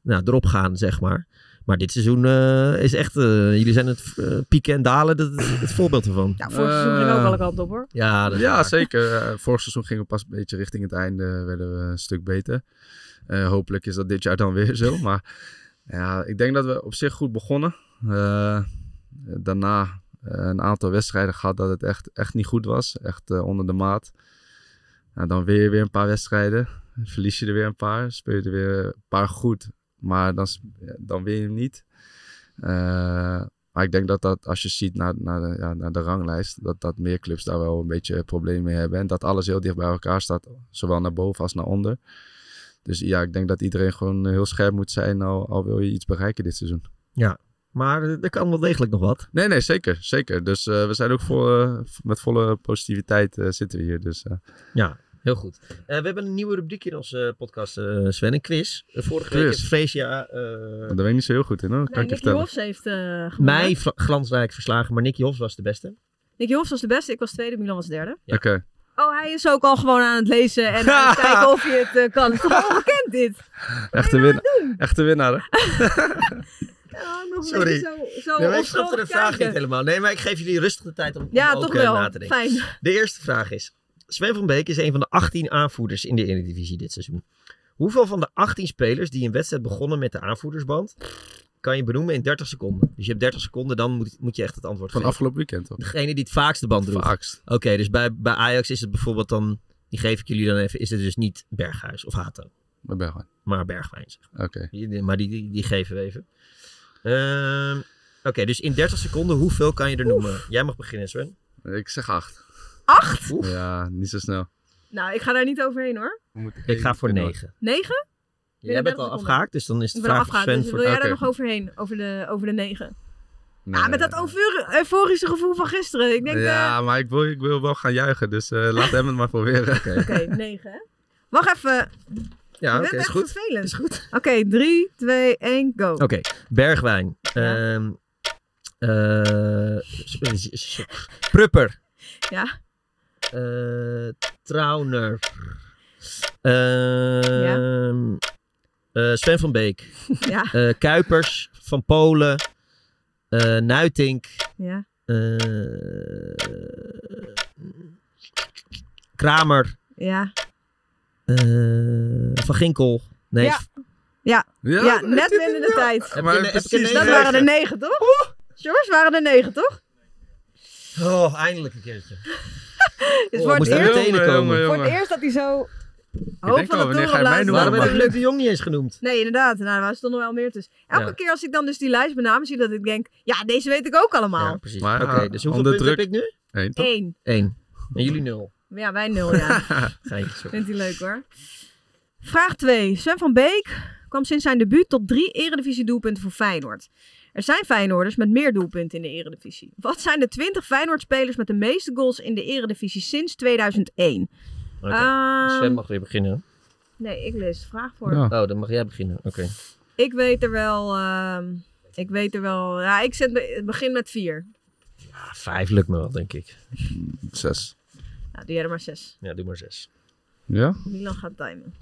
S5: nou, erop gaan, zeg maar. Maar dit seizoen eh, is echt, eh, jullie zijn het eh, pieken en dalen, dat, het voorbeeld ervan.
S2: Nou, vorig seizoen ging
S4: Eh,
S2: ook wel een kant op, hoor.
S5: Ja, dat is
S4: Ja,
S5: waar.
S4: zeker. Eh, Vorig seizoen gingen we pas een beetje richting het einde. Werden we een stuk beter. Eh, hopelijk is dat dit jaar dan weer zo. Maar ja, ik denk dat we op zich goed begonnen. Eh, daarna eh, een aantal wedstrijden gehad dat het echt, echt niet goed was. Echt eh, onder de maat. Nou, dan weer, weer een paar wedstrijden. Verlies je er weer een paar. Speel je er weer een paar goed. Maar dan, s- dan win je hem niet. Eh, maar ik denk dat dat, als je ziet naar, naar, de, ja, naar de ranglijst, dat, dat meer clubs daar wel een beetje problemen mee hebben. En dat alles heel dicht bij elkaar staat, zowel naar boven als naar onder. Dus ja, ik denk dat iedereen gewoon eh, heel scherp moet zijn, al, al wil je iets bereiken dit seizoen.
S5: Maar eh, er kan wel degelijk nog wat.
S4: Nee, nee, zeker. zeker. Dus eh, we zijn ook vol, eh, met volle positiviteit eh, zitten we hier. Dus, eh,
S5: Heel goed. Eh, we hebben een nieuwe rubriek in onze eh, podcast, eh, Sven, een quiz. Eh, vorige week
S4: Quiz.
S5: heeft Freesia eh,
S4: daar ben ik niet zo heel goed in, hoor. kan
S2: Nee,
S4: ik
S2: Nicky
S4: je vertellen.
S2: Hofs heeft eh gewonnen.
S5: mij vla- glansrijk verslagen, maar Nicky Hofs was de beste.
S2: Nicky Hofs was de beste, ik was tweede, Milan was derde.
S5: Ja.
S4: Oké.
S2: Oh, hij is ook al gewoon aan het lezen en aan het kijken of je het eh, kan. Het is toch ongekend, dit?
S4: Echte, winna Echte winnaar, hè?
S2: Ja, nog een
S5: Sorry.
S2: beetje Zo, zo
S5: Nee, maar ik
S2: onschuldig
S5: snapte de vraag
S2: kijken.
S5: niet helemaal. Nee, maar ik geef jullie rustig de tijd om, om
S2: Ja,
S5: ook,
S2: toch
S5: eh,
S2: wel.
S5: na te denken.
S2: Fijn.
S5: De eerste vraag is, Sven van Beek is een van de 18 aanvoerders in de Eredivisie dit seizoen. Hoeveel van de 18 spelers die een wedstrijd begonnen met de aanvoerdersband, kan je benoemen in 30 seconden? Dus je hebt 30 seconden, dan moet, moet je echt het antwoord
S4: Van
S5: geven.
S4: afgelopen weekend, toch?
S5: Degene die het vaakst de band droeg.
S4: Vaakst.
S5: Oké, dus bij, bij Ajax is het bijvoorbeeld dan, die geef ik jullie dan even, is het dus niet Berghuis of Hato,
S4: Dat ben ik gewoon.
S5: maar Bergwijn. Zeg
S4: Oké.
S5: maar. Die- Maar die, die, die geven we even. Ehm, Oké, dus in 30 seconden, hoeveel kan je er noemen? Jij mag beginnen, Sven.
S4: Ik zeg acht.
S2: Acht?
S5: Oef.
S4: Ja, niet zo snel.
S2: Nou, ik ga daar niet overheen, hoor.
S4: Moet
S5: Ik ga voor
S4: één door.
S5: 9.
S2: Negen?
S5: Jij bent
S2: 30
S5: al
S2: seconden.
S5: afgehaakt, dus dan is
S2: Ik
S5: de
S2: ben al
S5: vraag voor
S2: afgehaald, dus
S5: Sven voor...
S2: wil jij daar
S4: Oké.
S2: nog overheen? Over de, over de negen?
S4: Nee.
S2: ah, met dat eufor- euforische gevoel van gisteren. Ik denk, eh,
S4: ja, maar ik wil, ik wil wel gaan juichen, dus eh, laat hem het maar proberen.
S2: eh, Oké, negen. hè? Wacht
S4: Ah,
S2: even.
S5: Ja,
S2: Je
S5: oké,
S2: bent
S5: is
S2: echt
S5: goed.
S2: vervelend.
S5: Is goed.
S2: Oké, drie, twee, één, go.
S5: Oké, Bergwijn.
S2: Ja.
S5: Ehm eh, s- s- s- Prupper.
S2: Ja.
S5: Eh, Trauner. Ehm, eh, Sven van Beek.
S2: Ja,
S5: Eh, Kuipers van Polen. Eh, Nuitink.
S2: ja.
S5: Eh, Kramer.
S2: Ja,
S5: Eh, van Ginkel. Nee,
S2: Ja. ja, net binnen de tijd. Dus
S5: Heb
S4: Maar
S5: je een- heb je een
S4: precies.
S2: Dat
S5: negen?
S2: waren er negen, toch? George, waren er negen, toch?
S5: Oh, eindelijk een keertje.
S2: Dus
S5: Oh,
S2: voor, het
S5: moest er
S2: eerst,
S5: meteen
S4: Jongen,
S5: komen.
S4: jongen,
S2: voor het
S4: jongen.
S2: eerst dat hij zo
S4: denk
S2: hoog van
S4: al,
S2: de
S4: wanneer ga
S2: toren
S4: je mij
S2: blaast.
S4: noemen?
S5: Waarom
S4: Waarom
S5: heb ik
S4: heb
S5: Luc de Jong niet eens genoemd?
S2: Nee, inderdaad. Nou, daar stonden wel meer tussen. Elke
S5: Ja.
S2: keer als ik dan dus die lijst benam, zie je dat ik denk... Ja, deze weet ik ook allemaal.
S5: Ja, precies.
S4: Maar,
S5: Oké,
S4: ah,
S5: dus hoeveel
S4: onder
S5: punten
S4: druk.
S5: heb ik nu?
S4: Eén, toch?
S2: Eén.
S5: Eén. En jullie nul.
S2: Ja, wij nul, ja.
S5: Geintje, sorry.
S2: Vindt hij leuk hoor. Vraag 2. Sven van Beek kwam sinds zijn debuut tot drie eredivisie doelpunten voor Feyenoord. Er zijn Feyenoorders met meer doelpunten in de eredivisie. Wat zijn de 20 Feyenoord-spelers met de meeste goals in de eredivisie sinds 2001?
S5: Oké. Dus
S2: Ehm,
S5: Sven mag weer beginnen.
S2: nee, ik lees de vraag voor.
S4: Ja.
S5: Oh, dan mag jij beginnen. Oké.
S2: Ik weet er wel... ehm, ik weet er wel... Ja, ik zet be- het begin met 4.
S5: Ah, vijf lukt me wel, denk ik.
S4: Zes.
S2: Nou, doe jij er maar 6.
S5: Ja, doe maar zes.
S4: Ja?
S2: Milan gaat timen.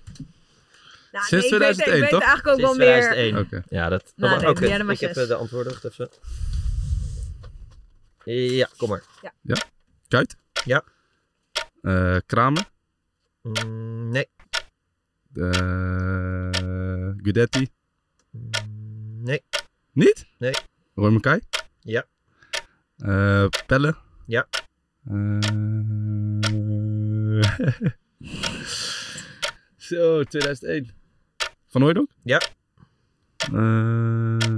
S2: Nou,
S4: Sinds
S2: nee, ik weet-
S4: 2001,
S2: ik weet
S4: toch?
S2: eigenlijk ook wel
S5: Sinds
S2: meer.
S5: 2001.
S4: Oké.
S5: Ja, dat...
S2: Nou,
S5: dat-
S2: nee,
S5: oké,
S2: jij er maar
S5: ik heb
S2: zes.
S5: eh, de antwoorden. wacht even. Ja, kom maar.
S4: Kuit?
S5: Ja.
S4: Eh, Kramer?
S5: Mm, nee.
S4: Eh, Gudetti?
S5: Mm, nee.
S4: Niet?
S5: Nee.
S4: Roy Mackay?
S5: Ja.
S4: Eh, Pelle?
S5: Ja.
S4: Eh, Zo, 2001. Van Hooijdonk?
S5: Ja.
S4: Eh,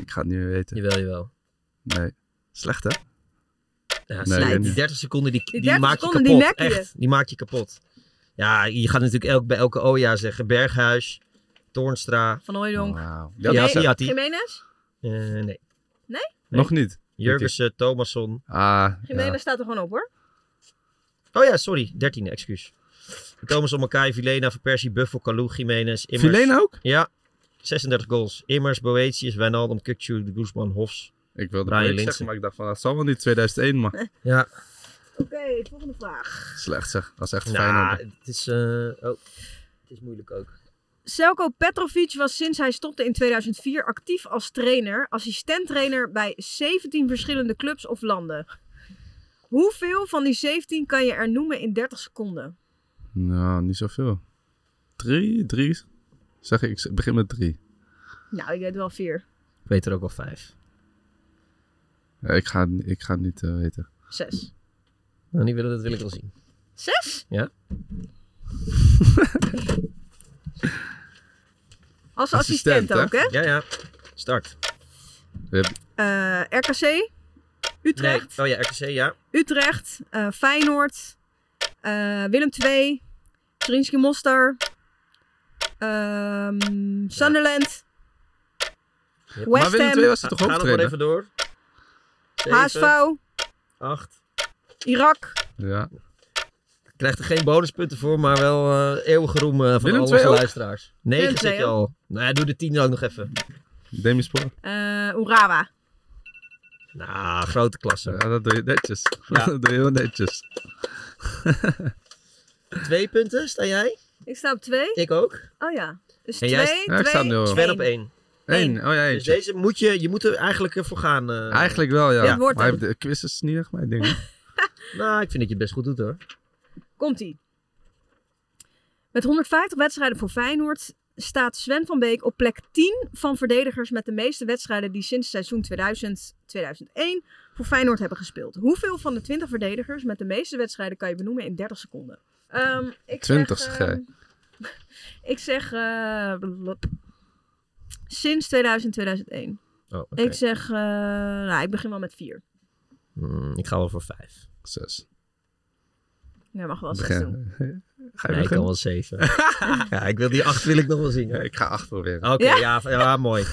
S4: ik ga het niet meer weten.
S5: Jawel, jawel.
S4: Nee. Slecht, hè?
S5: Ja,
S4: Nee,
S5: snijdt.
S4: ik weet
S5: die
S4: niet.
S5: 30 seconden, die, die,
S2: 30
S5: maak je
S2: seconden, die
S5: kapot.
S2: nek je.
S5: Echt, die maak je kapot. Ja, je gaat natuurlijk elk, bij elke OJA zeggen. Berghuis, Toornstra.
S2: Van Hooijdonk.
S4: Wauw.
S5: Ja,
S4: Ja,
S5: ja,
S4: dat is-
S2: Jiménez?
S5: Eh, nee.
S4: Nog niet.
S5: Jurgensen, Thomasson.
S4: Ah,
S2: Jiménez
S4: ja.
S2: staat er gewoon op hoor.
S5: Oh ja, sorry. 13e, excuus. Thomas Omakai, Vilena, Van Persie, Buffel, Kalou, Jiménez. Immers.
S4: Filena ook?
S5: Ja. 36 goals. Immers, Boetius, Wijnaldum, Kukcu, Guzman, Hofs.
S4: Ik wilde
S5: Brian
S4: Brian
S5: Linssen.
S4: zeggen, maar ik dacht van, dat zal wel niet 2001, maar
S5: Ja.
S2: Oké, volgende vraag.
S4: slecht zeg. Dat is echt fijn.
S5: Nou, het is... eh, oh, het is moeilijk ook.
S2: Selko Petrovic was sinds hij stopte in 2004 actief als trainer, assistenttrainer bij 17 verschillende clubs of landen. Hoeveel van die 17 kan je er noemen in 30 seconden?
S4: Nou, niet zoveel. Drie, drie. Zeg ik, ik begin met drie.
S2: Nou, ik weet wel vier.
S5: Ik weet er ook wel vijf.
S4: Ja, ik, ga, ik ga het niet eh, weten.
S2: Zes.
S5: Nou, die willen, dat wil ik wel zien.
S2: Zes?
S5: Ja.
S2: Als assistent,
S4: Assistent, hè?
S2: ook, hè?
S5: Ja, ja. Start.
S2: Eh, RKC,
S5: Nee.
S2: Utrecht,
S5: Oh ja, RKC, ja.
S2: Utrecht, eh, Feyenoord, eh, Willem II, Trinski Mostar, ehm, Sunderland,
S4: maar
S2: West
S4: Willem II
S2: Ham,
S4: was er toch
S5: Ga-
S4: ook
S5: Ga nog maar
S4: trainer?
S5: even door.
S2: HSV,
S5: 8.
S2: Irak.
S4: Ja.
S5: Krijgt er geen bonuspunten voor, maar wel eh eeuwige roem eh, van
S4: Willem
S5: alle
S4: II
S5: onze
S4: ook?
S5: luisteraars. 9
S2: Willem
S5: zit
S2: II
S5: je al. Nou ja, doe de 10 ook nog even.
S4: Demispoor.
S2: eh Urawa.
S5: Nou, grote klasse.
S4: Ja, dat doe je netjes.
S5: Ja.
S4: dat doe je heel netjes.
S5: Twee punten, sta jij?
S2: Ik sta op twee.
S5: Ik ook.
S2: Oh ja. Dus
S5: En
S2: twee,
S5: jij
S4: Ja, ik sta
S2: twee.
S4: nu al.
S5: Sven op één.
S4: Eén. Oh ja,
S5: Dus
S4: eentje.
S5: deze moet je, je moet er eigenlijk eh, voor gaan. eh.
S4: Eigenlijk wel, ja.
S2: Ja. Wordt
S4: maar
S2: hem.
S4: de quiz is niet echt mijn ding. hè.
S5: Nou, ik vind dat je het best goed doet hoor.
S2: Komt-ie. Met 150 wedstrijden voor Feyenoord staat Sven van Beek op plek 10 van verdedigers met de meeste wedstrijden die sinds seizoen 2000-2001 voor Feyenoord hebben gespeeld. Hoeveel van de 20 verdedigers met de meeste wedstrijden kan je benoemen in 30 seconden? Ehm, ik
S4: 20
S2: zeg,
S4: zeg jij.
S2: ehm, Ik zeg eh, blub. sinds 2000-2001.
S5: Oh, oké.
S2: Ik zeg, eh, nou, ik begin wel met 4.
S5: Hmm, ik ga wel voor vijf.
S4: Zes.
S2: Jij mag wel 6 doen.
S4: Begin. Ga je
S5: Nee, ik kan
S4: beginnen?
S5: wel zeven. ja, ik wil die acht wil ik nog wel zien.
S4: Ja,
S5: hoor.
S4: ik ga acht proberen.
S5: Oké,
S2: Ja.
S5: ja. Ja, mooi.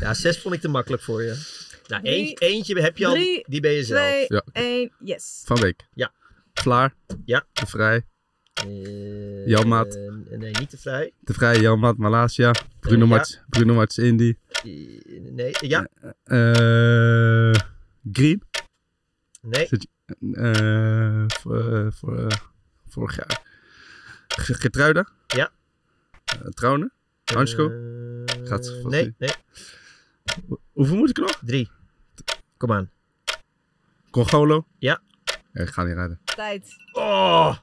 S5: ja, zes vond ik te makkelijk voor je. Nou,
S2: Drie,
S5: eentje, eentje heb je al,
S2: drie,
S5: die ben je zelf.
S2: 2,
S4: Ja.
S2: 1, yes.
S4: Van Beek.
S5: Ja.
S4: Vlaar.
S5: Ja.
S4: De Vrij.
S5: Eh,
S4: Jan Maat.
S5: eh, nee, niet te vrij.
S4: De Vrij, Janmaat, Malasia. Bruno
S5: Eh, ja.
S4: Mats. Bruno Mats, Indy.
S5: Eh, nee, ja,
S4: Eh, Green.
S5: nee.
S4: Eh, voor, eh, voor, eh, vorig jaar. Ge- Gertruida.
S5: Ja.
S4: Eh, Trouwne. Hansko?
S5: Eh,
S4: Gaat ze vast
S5: Nee,
S4: niet.
S5: nee,
S4: Ho- Hoeveel moet ik er nog?
S5: drie. Kom aan.
S4: Congolo.
S5: Ja.
S4: Eh, ik ga niet raden.
S2: Tijd.
S5: Oh!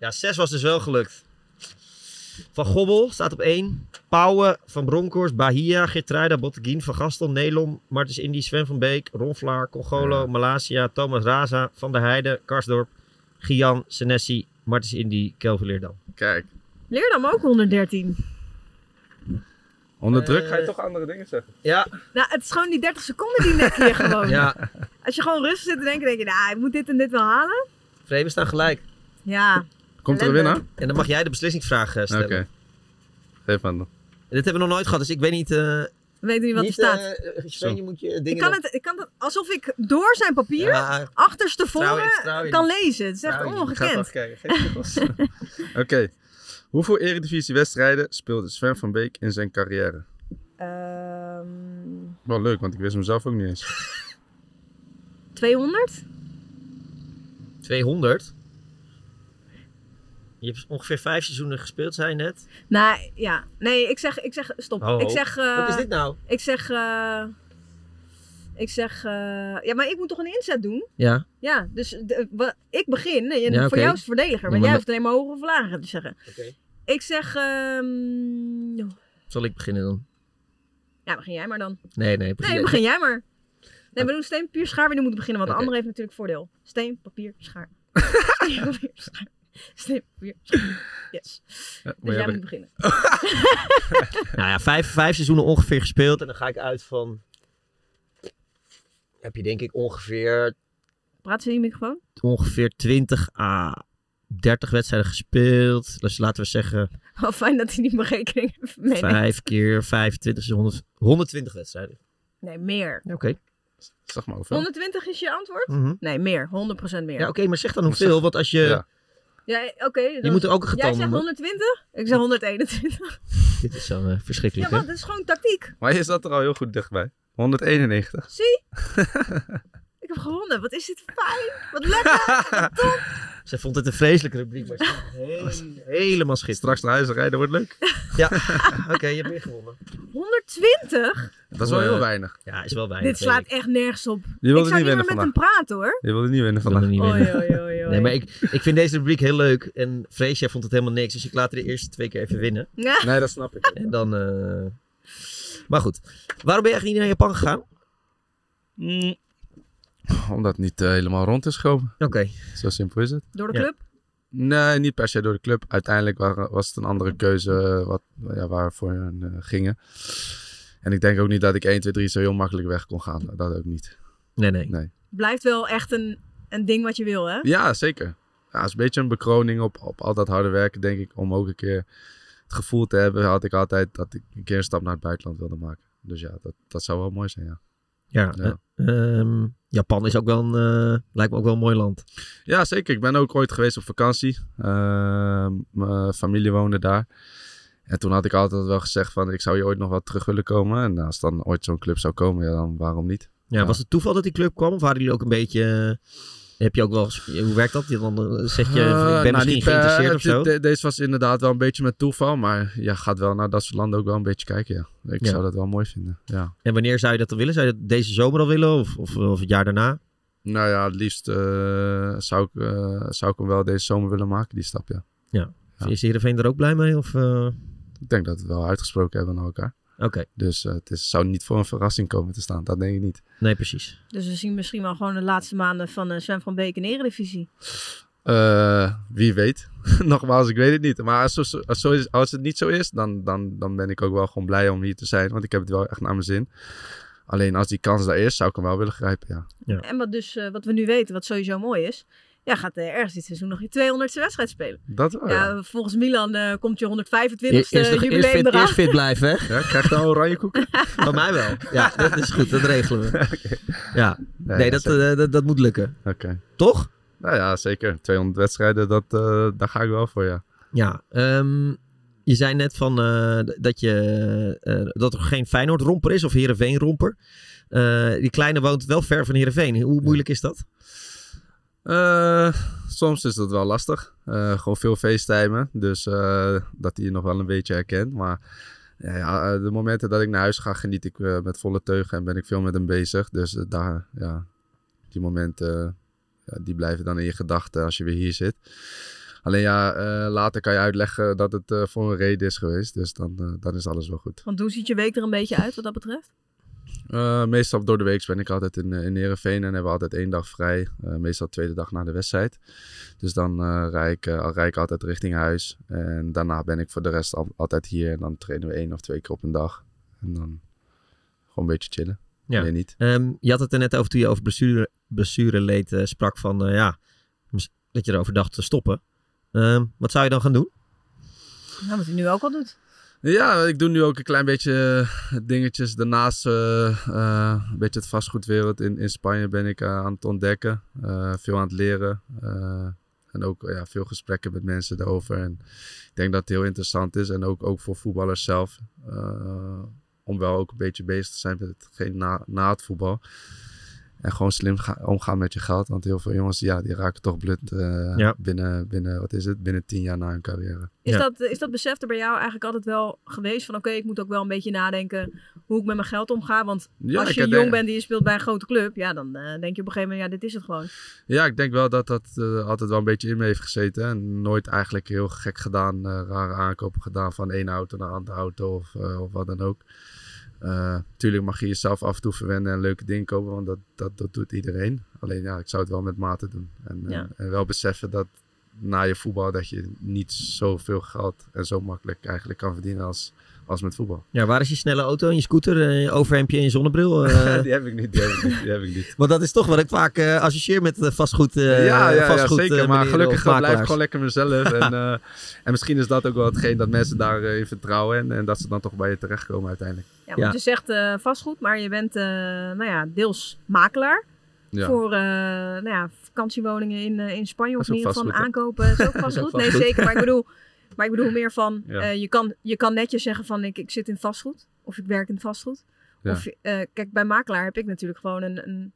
S5: Ja, zes was dus wel gelukt. Van Gobbel staat op één. Pauwen, Van Bronckhorst, Bahia, Gertruida, Botteguin, Van Gastel, Nelom, Martens Indy, Sven van Beek, Ron Vlaar, Congolo,
S4: Ja.
S5: Malasia, Thomas Raza, Van der Heijden, Karsdorp, Gian, Senesi, Martens Indy, Kelvin Leerdam.
S4: Kijk.
S2: Leer dan ook 113.
S4: Onder
S5: Eh,
S4: druk ga je toch andere dingen zeggen.
S5: Ja,
S2: Nou, het is gewoon die 30 seconden die nek je gewoon.
S5: ja.
S2: Als je gewoon rustig zit te denken, denk je, nou, ik moet dit en dit wel halen.
S5: Vreemden staan gelijk.
S2: Ja.
S4: Komt er een
S2: Ellende.
S4: winnaar?
S5: En dan mag jij de beslissingsvraag eh,
S4: Oké.
S5: stellen.
S4: Geef aan dan.
S5: Dit hebben we nog nooit gehad, dus ik weet niet... eh,
S2: We weten niet wat
S5: niet,
S2: er staat.
S5: eh, Sven,
S4: Zo.
S5: je moet je dingen...
S2: ik, kan
S5: nog-
S2: het, ik kan het alsof ik door zijn papier,
S5: Ja, trouw je-
S2: achterstevoren,
S5: trouw je
S2: kan
S5: niet.
S2: lezen. Het is echt
S5: Nou,
S4: Ik ga het wel
S2: ongekend.
S4: even kijken. Geef het los. Oké. Hoeveel eredivisiewedstrijden speelde Sven van Beek in zijn carrière?
S2: Ehm,
S4: Wel leuk, want ik wist hem zelf ook niet eens.
S2: 200?
S5: 200? Je hebt ongeveer vijf seizoenen gespeeld, zei je net.
S2: Nou ja, nee, ik zeg, ik zeg stop.
S5: Oh,
S2: ik zeg, eh,
S5: Wat is dit nou?
S2: ik zeg, eh, ik zeg, eh, ja, maar ik moet toch een inzet doen?
S5: Ja,
S2: Ja, dus de- wa- ik begin. En
S5: Ja,
S2: voor
S5: oké.
S2: jou is het verdediger,
S5: Ja,
S2: maar
S5: maar
S2: jij
S5: dat-
S2: hoeft alleen maar hoger of lager te zeggen.
S5: Oké.
S2: Ik zeg, ehm,
S5: zal ik beginnen dan?
S2: ja, begin jij maar dan.
S5: Nee, nee.
S2: Nee,
S5: Begin jij. Ah.
S2: begin jij maar. Nee, we doen steen, papier, schaar. We moeten beginnen, want de
S5: Oké.
S2: andere heeft natuurlijk voordeel. Steen, papier, schaar. Steen, papier, schaar. Steen, papier, schaar. Yes.
S4: Ja, maar
S2: Dus
S4: jij
S2: jij moet
S4: bent-
S2: beginnen.
S5: Nou ja, vijf, vijf seizoenen ongeveer gespeeld. En dan ga ik uit van... Heb je denk ik ongeveer,
S2: Praat ze in je microfoon?
S5: ongeveer 20 à 30 wedstrijden gespeeld. Dus laten we zeggen
S2: Wel fijn dat hij niet mijn rekening heeft meeneemt.
S5: vijf keer 25 is 100, 120 wedstrijden.
S2: Nee, meer.
S5: Oké.
S4: Zeg maar hoeveel.
S2: 120 is je antwoord?
S5: Mhm.
S2: Nee, meer. 100% meer.
S5: Ja, oké,
S2: Ja,
S5: maar zeg dan hoeveel, want als je...
S4: Ja.
S2: oké.
S5: Je
S2: dan-
S5: moet er ook een getal
S2: Jij zegt
S5: noemen.
S2: 120? Ik zeg 121.
S5: Dit is zo eh,
S2: Ja,
S5: verschrikkelijk, hè?
S2: want dat is gewoon tactiek.
S4: Maar je zat er al heel goed dichtbij. 191.
S2: Zie? Ik heb gewonnen. Wat is dit fijn. Wat lekker.
S5: Zij vond het een vreselijke rubriek, maar ze vond het heel- helemaal schitterend.
S4: Straks naar huis rijden wordt leuk.
S5: Ja, oké, je hebt meer gewonnen.
S2: 120?
S4: Dat is wel heel
S5: Eh,
S4: weinig.
S5: Ja, is wel weinig.
S2: Dit slaat echt nergens op.
S4: Je
S2: Ik
S4: wilde
S2: zou
S4: niet
S2: niet meer
S4: winnen
S2: met
S4: vandaag.
S2: hem praten hoor.
S4: Je wilde niet winnen
S5: Ik wil er
S4: vandaag.
S5: niet
S2: Oei,
S5: winnen.
S2: oei, oei, oei.
S5: Nee, maar ik, ik vind deze rubriek heel leuk. En Freesia vond het helemaal niks. Dus ik laat er de eerste twee keer even winnen.
S2: Ja,
S4: Nee, dat snap ik.
S5: En dan... eh, Maar goed. Waarom ben je eigenlijk niet naar Japan gegaan?
S4: Mm. Omdat het niet eh, helemaal rond is gekomen.
S5: Oké.
S4: Zo simpel is het.
S2: Door de
S5: Ja.
S2: club.
S4: Nee, niet per se door de club. Uiteindelijk wa- was het een andere keuze eh, wat, ja, waarvoor we eh, gingen. En ik denk ook niet dat ik 1, 2, 3 zo heel makkelijk weg kon gaan. Dat ook niet.
S5: Nee, nee.
S2: Blijft wel echt een, een ding wat je wil hè.
S4: Ja, zeker. Ja, het is een beetje een bekroning op, op al dat harde werken, denk ik. Om ook een keer het gevoel te hebben, had ik altijd dat ik een keer een stap naar het buitenland wilde maken. Dus ja, dat, dat zou wel mooi zijn, ja.
S5: Ja.
S4: Ja.
S5: eh, ehm, Japan is ook wel een... eh, lijkt me ook wel een mooi land.
S4: Ja, zeker. Ik ben ook ooit geweest op vakantie. Ehm, mijn familie woonde daar. En toen had ik altijd wel gezegd van, ik zou hier ooit nog wel terug willen komen. En als dan ooit zo'n club zou komen, ja, dan waarom niet?
S5: Ja,
S4: Ja.
S5: was het toeval dat die club kwam? Of waren jullie ook een beetje... eh, Heb je ook wel... eens- Hoe werkt dat? Dan eh, zeg je,
S4: Eh,
S5: ik ben
S4: nou,
S5: misschien
S4: niet, eh,
S5: geïnteresseerd of
S4: dit-
S5: zo.
S4: de- deze was inderdaad wel een beetje met toeval. Maar je gaat wel naar dat soort landen ook wel een beetje kijken, ja. Ik
S5: Ja.
S4: zou dat wel mooi vinden, ja.
S5: En wanneer zou je dat dan willen? Zou je dat deze zomer al willen? Of, of, of het jaar daarna?
S4: Nou ja, het liefst eh, zou, ik, eh, zou ik hem wel deze zomer willen maken, die stap, ja. Ja.
S5: Is Heerenveen er ook blij mee? Of, eh,
S4: Ik denk dat we het wel uitgesproken hebben naar elkaar.
S5: Oké,
S4: Dus eh, het is, zou niet voor een verrassing komen te staan, dat denk ik niet.
S5: nee precies.
S2: Dus we zien misschien wel gewoon de laatste maanden van eh, Sven van Beek in de Eredivisie.
S4: Eh, wie weet. Nogmaals, ik weet het niet. Maar als, zo- als, zo is- als het niet zo is, dan, dan, dan ben ik ook wel gewoon blij om hier te zijn. Want ik heb het wel echt naar mijn zin. Alleen als die kans daar is, zou ik hem wel willen grijpen, ja.
S2: En wat, dus, eh, wat we nu weten, wat sowieso mooi is. Ja, gaat eh, ergens dit seizoen nog je 200ste wedstrijd spelen.
S4: Dat wel, Oh, ja.
S2: Ja, volgens Milan eh, komt je 125ste
S5: nog- eerst,
S2: eh, jubileum
S5: fit,
S2: eraan.
S5: eerst fit blijven, hè?
S4: Ja, krijg je dan oranje koeken?
S5: Bij mij wel. Ja, dat is goed. Dat regelen we. Ja,
S4: Nee,
S5: nee,
S4: ja,
S5: dat,
S4: zeker.
S5: eh, dat, dat moet lukken.
S4: Oké.
S5: Toch?
S4: Nou ja, zeker. 200 wedstrijden, dat, eh, daar ga ik wel voor, ja.
S5: Ja. ehm, je zei net van, eh, d- dat, je, eh, dat er geen Feyenoord-romper is of Heerenveen-romper. Eh, die kleine woont wel ver van Heerenveen. Hoe moeilijk is dat?
S4: Eh, soms is dat wel lastig. Eh, gewoon veel facetimen. Dus eh, dat hij je nog wel een beetje herkent. Maar ja, ja, eh, de momenten dat ik naar huis ga, geniet ik eh, met volle teugen. En ben ik veel met hem bezig. Dus eh, daar, ja, die momenten, eh, ja, die blijven dan in je gedachten als je weer hier zit. Alleen ja, eh, later kan je uitleggen dat het eh, voor een reden is geweest. Dus dan, eh, dan is alles wel goed.
S2: Want hoe ziet je week er een beetje uit wat dat betreft?
S4: Eh, meestal door de week ben ik altijd in, eh, in Heerenveen en hebben we altijd één dag vrij. Eh, meestal de tweede dag na de wedstrijd. Dus dan eh rij, ik, eh, al rij ik altijd richting huis. En daarna ben ik voor de rest al- altijd hier. En dan trainen we één of twee keer op een dag. En dan gewoon een beetje chillen.
S5: Ja.
S4: Meer niet.
S5: Ehm, je had het er net over toen je over blessure, blessureleed eh, sprak van eh, ja, mis- dat je erover dacht te stoppen. Ehm, wat zou je dan gaan doen?
S2: Nou, wat hij nu ook al doet.
S4: Ja, ik doe nu ook een klein beetje eh, dingetjes. Daarnaast eh, eh, een beetje het vastgoedwereld in, in Spanje ben ik eh, aan het ontdekken. Eh, veel aan het leren. eh, en ook eh, ja, veel gesprekken met mensen daarover. En ik denk dat het heel interessant is. En ook, ook voor voetballers zelf. eh, om wel ook een beetje bezig te zijn met hetgeen na, na het voetbal. En gewoon slim ga- omgaan met je geld. Want heel veel jongens, ja, die raken toch blut eh,
S5: Ja.
S4: binnen, binnen, wat is het? Binnen tien jaar na hun carrière.
S2: Is,
S5: Ja.
S2: dat, is dat besef er bij jou eigenlijk altijd wel geweest? Van oké, ik moet ook wel een beetje nadenken hoe ik met mijn geld omga. Want
S4: Ja,
S2: als
S4: ik
S2: je
S4: had
S2: jong
S4: de-
S2: bent en je speelt bij een grote club, ja, dan eh, denk je op een gegeven moment, ja, dit is het gewoon.
S4: Ja, ik denk wel dat dat eh, altijd wel een beetje in me heeft gezeten. En nooit eigenlijk heel gek gedaan, eh, rare aankopen gedaan van één auto naar een andere auto of, eh, of wat dan ook. Eh, tuurlijk mag je jezelf af en toe verwennen en leuke dingen kopen, want dat, dat, dat doet iedereen. Alleen ja, ik zou het wel met mate doen. En, eh,
S2: Ja.
S4: en wel beseffen dat na je voetbal dat je niet zoveel geld en zo makkelijk eigenlijk kan verdienen als, als met voetbal.
S5: Ja, waar is je snelle auto en je scooter en je overhemdje en je zonnebril? eh?
S4: die heb ik niet, die heb ik niet, die heb ik niet.
S5: Want dat is toch wat ik vaak eh, associeer met eh, vastgoed. eh,
S4: ja, ja, ja
S5: vastgoed,
S4: zeker.
S5: eh,
S4: maar
S5: meneer
S4: gelukkig
S5: of
S4: eh, blijf ik
S5: makelaars.
S4: gewoon lekker mezelf. en, eh, en misschien is dat ook wel hetgeen dat mensen daarin in vertrouwen. En, en dat ze dan toch bij je terechtkomen uiteindelijk.
S2: Ja, want
S5: Ja.
S2: je zegt eh, vastgoed, maar je bent eh, nou ja, deels makelaar
S4: Ja.
S2: voor eh, nou ja, vakantiewoningen in, eh, in Spanje.
S4: Dat
S2: Of
S4: is
S2: in ieder
S4: ook
S2: geval
S4: vastgoed, hè?
S2: aankopen. Is ook vastgoed? Nee,
S5: vastgoed.
S2: zeker. Maar ik bedoel, maar ik bedoel meer van,
S4: Ja.
S2: eh, je, kan, je kan netjes zeggen van ik, ik zit in vastgoed. Of ik werk in vastgoed.
S4: Ja.
S2: Of, eh, kijk, bij makelaar heb ik natuurlijk gewoon een, een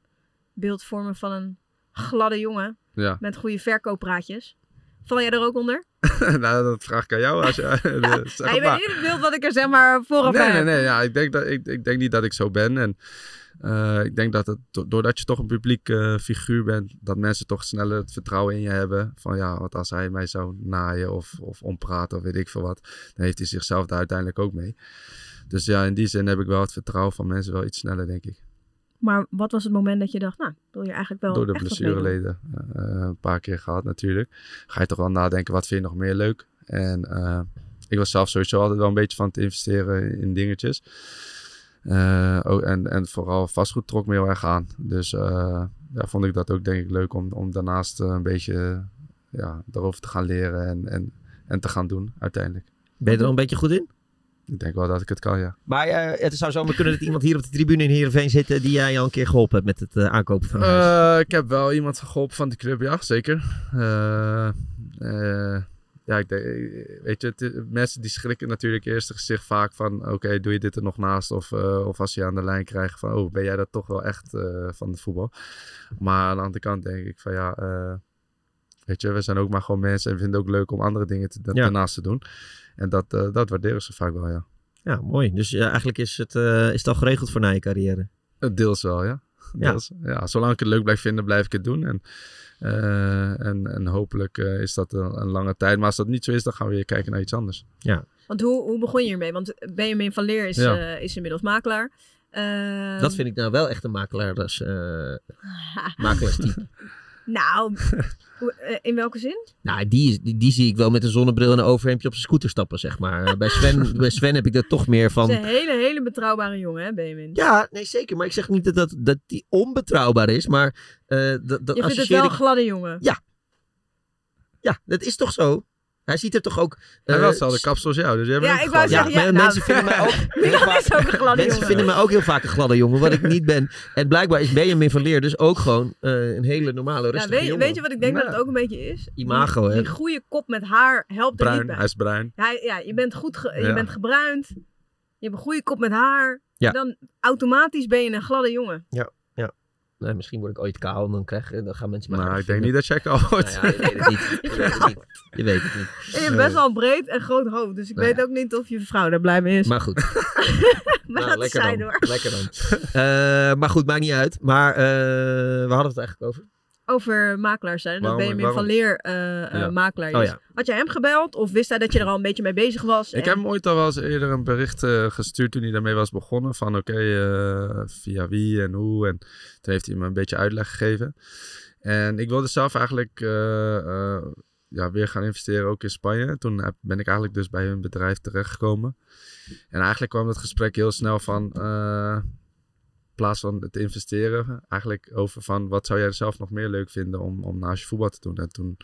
S2: beeld voor me van een gladde jongen
S4: ja.
S2: met goede verkooppraatjes. Val jij er ook onder?
S4: nou, dat vraag ik aan jou. Als je, eh, zeg
S2: Ja, je
S4: het maar.
S2: weet niet het beeld wat ik er zeg maar vooraf bij
S4: Nee,
S2: heb.
S4: nee, nee. Ja, ik, denk dat, ik, ik denk niet dat ik zo ben. En eh, ik denk dat het, do- doordat je toch een publiek eh, figuur bent, dat mensen toch sneller het vertrouwen in je hebben. Van ja, wat als hij mij zou naaien of, of ompraten of weet ik veel wat. Dan heeft hij zichzelf daar uiteindelijk ook mee. Dus ja, in die zin heb ik wel het vertrouwen van mensen wel iets sneller, denk ik.
S2: Maar wat was het moment dat je dacht, nou, wil je eigenlijk wel
S4: Door de
S2: echt wat meedoen?
S4: blessureleden. eh, eh, een paar keer gehad natuurlijk. Ga je toch wel nadenken, wat vind je nog meer leuk? En eh, ik was zelf sowieso altijd wel een beetje van het investeren in dingetjes. Eh, ook, en, en vooral vastgoed trok me heel erg aan. Dus eh, ja, vond ik dat ook denk ik leuk om, om daarnaast eh, een beetje ja, erover te gaan leren en, en, en te gaan doen uiteindelijk.
S5: Ben je er al een beetje goed in?
S4: Ik denk wel dat ik het kan, ja.
S5: Maar eh, het zou zomaar kunnen dat iemand hier op de tribune in Heerenveen zit eh, die jij al een keer geholpen hebt met het eh, aankopen van een huis.
S4: Eh, ik heb wel iemand geholpen van de club, ja, zeker. Eh, eh, ja, ik denk, eh, weet je, het- mensen die schrikken natuurlijk eerst het gezicht vaak van, oké, doe je dit er nog naast? Of, eh, of als je aan de lijn krijgt van, oh, ben jij dat toch wel echt eh, van de voetbal? Maar aan de andere kant denk ik van, ja, eh, weet je, we zijn ook maar gewoon mensen en vinden het ook leuk om andere dingen te, da-
S5: Ja.
S4: daarnaast te doen. En dat, eh, dat waarderen ze vaak wel, ja.
S5: Ja, mooi. Dus eh, eigenlijk is het, eh, is het al geregeld voor na je carrière.
S4: Eh, Deels wel, ja.
S5: Ja.
S4: Deels. Ja. zolang ik het leuk blijf vinden, blijf ik het doen. En, eh, en, en hopelijk eh, is dat een, een lange tijd. Maar als dat niet zo is, dan gaan we weer kijken naar iets anders.
S2: Want hoe, hoe begon je hiermee? Want Benjamin van Leer is,
S4: Ja.
S2: eh, is inmiddels makelaar. Ehm,
S5: dat vind ik nou wel echt een makelaars, eh makelaarstype.
S2: Nou, hoe- eh, in welke zin?
S5: nou, die, is- die, die zie ik wel met een zonnebril en een overhemdje op zijn scooter stappen, zeg maar. Eh, Bij Sven, bij Sven heb ik dat toch meer
S2: Het
S5: van...
S2: is een hele, hele betrouwbare jongen, hè, Benjamin?
S5: Ja, nee, zeker. Maar ik zeg niet dat, dat, dat die onbetrouwbaar is, maar eh dat, dat
S2: je vindt het
S5: associeer
S2: wel een
S5: ik...
S2: gladde jongen.
S5: Ja, dat is toch zo? Hij ziet er toch ook...
S4: Hij
S5: eh,
S4: wel dezelfde kapsel als jou, dus jij bent
S2: Ja,
S4: ook
S2: ik
S4: gewoon-
S2: wou
S5: Ja,
S2: zeggen, ja,
S5: maar
S2: nou,
S5: mensen vinden mij ook heel
S2: Milan
S5: vaak-
S2: is ook een gladde
S5: Mensen
S2: jongen.
S5: vinden me ook heel vaak een gladde jongen, wat ik niet ben. En blijkbaar is Benjamin van Leer dus ook gewoon eh, een hele normale,
S2: Nou,
S5: rustige
S2: weet,
S5: jongen.
S2: weet je wat ik denk dat
S4: Nou.
S2: het ook een beetje is?
S5: Imago,
S2: Die,
S5: hè?
S2: die goede kop met haar helpt er niet
S4: bruin,
S2: bij.
S4: hij is bruin.
S2: Ja, ja, je bent goed, ge- je
S4: Ja.
S2: bent gebruind. Je hebt een goede kop met haar.
S5: Ja.
S2: Dan automatisch ben je een gladde jongen.
S5: Nee, Nou, misschien word ik ooit kaal en dan, krijg, dan gaan mensen mij
S4: Nou,
S5: aardig
S4: ik denk niet
S5: vinden.
S4: dat jij al wordt.
S5: Nou ja, je weet het niet. Je weet het niet. Je weet het niet.
S2: En je hebt best wel een breed en groot hoofd. Dus ik
S5: Nou
S2: weet
S5: ja.
S2: ook niet of je vrouw daar blij mee is. Maar,
S5: Maar goed. nou,
S2: dat
S5: lekker
S2: zijn
S5: dan.
S2: hoor.
S5: Lekker dan. Eh, maar goed, maakt niet uit. Maar eh we hadden het eigenlijk over.
S2: Over makelaars zijn. En Dat
S4: Waarom-
S2: Benjamin
S4: waarom?
S2: van Leer eh, eh,
S4: Ja.
S2: makelaar is.
S5: Oh ja.
S2: Had jij hem gebeld? Of wist hij dat je er al een beetje mee bezig was?
S4: Ik
S2: En-
S4: heb hem ooit al wel eens eerder een bericht eh, gestuurd toen hij daarmee was begonnen. Van oké, eh, via wie en hoe. En toen heeft hij me een beetje uitleg gegeven. En ik wilde zelf eigenlijk eh, eh, ja, weer gaan investeren ook in Spanje. En Toen heb- ben ik eigenlijk dus bij hun bedrijf terechtgekomen. En eigenlijk kwam het gesprek heel snel van... eh, in plaats van het investeren, eigenlijk over van wat zou jij zelf nog meer leuk vinden om, om naast je voetbal te doen. En toen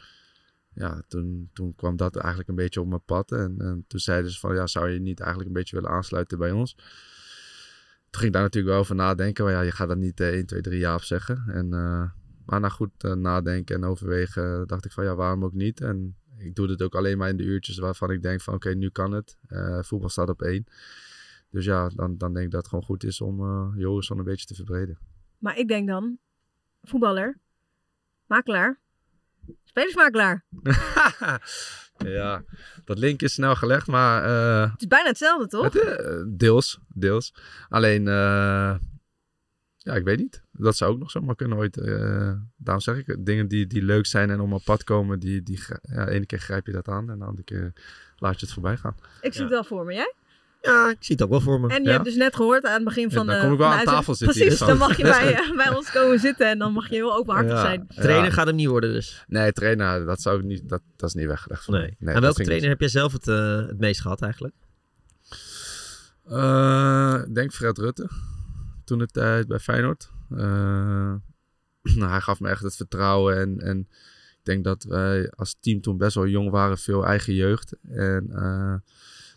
S4: ja, toen, toen kwam dat eigenlijk een beetje op mijn pad. En, en toen zeiden ze van, ja, zou je niet eigenlijk een beetje willen aansluiten bij ons? Toen ging ik daar natuurlijk wel over nadenken. Maar ja, je gaat dat niet eh, 1, 2, 3 ja op zeggen. En, eh, maar na goed eh, nadenken en overwegen dacht ik van, ja, waarom ook niet? En ik doe dit ook alleen maar in de uurtjes waarvan ik denk van, oké, nu kan het. Eh, voetbal staat op één. Dus ja, dan, dan denk ik dat het gewoon goed is om eh Joris een beetje te verbreden.
S2: Maar ik denk dan, voetballer, makelaar, spelersmakelaar.
S4: ja, dat link is snel gelegd, maar eh,
S2: Het is bijna hetzelfde, toch?
S4: het, eh, deels, deels. Alleen, eh, ja, ik weet niet. Dat zou ook nog zomaar kunnen ooit. eh, daarom zeg ik, het, dingen die, die leuk zijn en om op pad komen, die, die, gri- ja, ene keer grijp je dat aan en de andere keer laat je het voorbij gaan.
S2: Ik zie
S5: Ja.
S2: het wel voor me, jij?
S5: Ja, ik zie het ook wel voor me.
S2: En je
S4: Ja.
S2: hebt dus net gehoord aan het begin van
S4: dan
S2: de...
S4: kom ik wel
S2: van de
S4: aan
S2: uitzending-
S4: tafel zitten
S2: Precies,
S4: hier. Oh.
S2: dan mag je bij, eh, bij ons komen zitten en dan mag je heel openhartig
S4: Ja,
S2: zijn.
S4: ja.
S5: Trainer gaat hem niet worden dus.
S4: Nee, trainer, dat zou ik niet, dat, dat is niet weggelegd. voor
S5: Nee.
S4: mij. dat
S5: Aan welke
S4: ging niet.
S5: trainer heb jij zelf het, eh, het meest gehad eigenlijk?
S4: Eh, ik denk Fred Rutte. Toen de tijd bij Feyenoord. Eh, nou, hij gaf me echt het vertrouwen. En, en ik denk dat wij als team toen best wel jong waren. Veel eigen jeugd. En eh,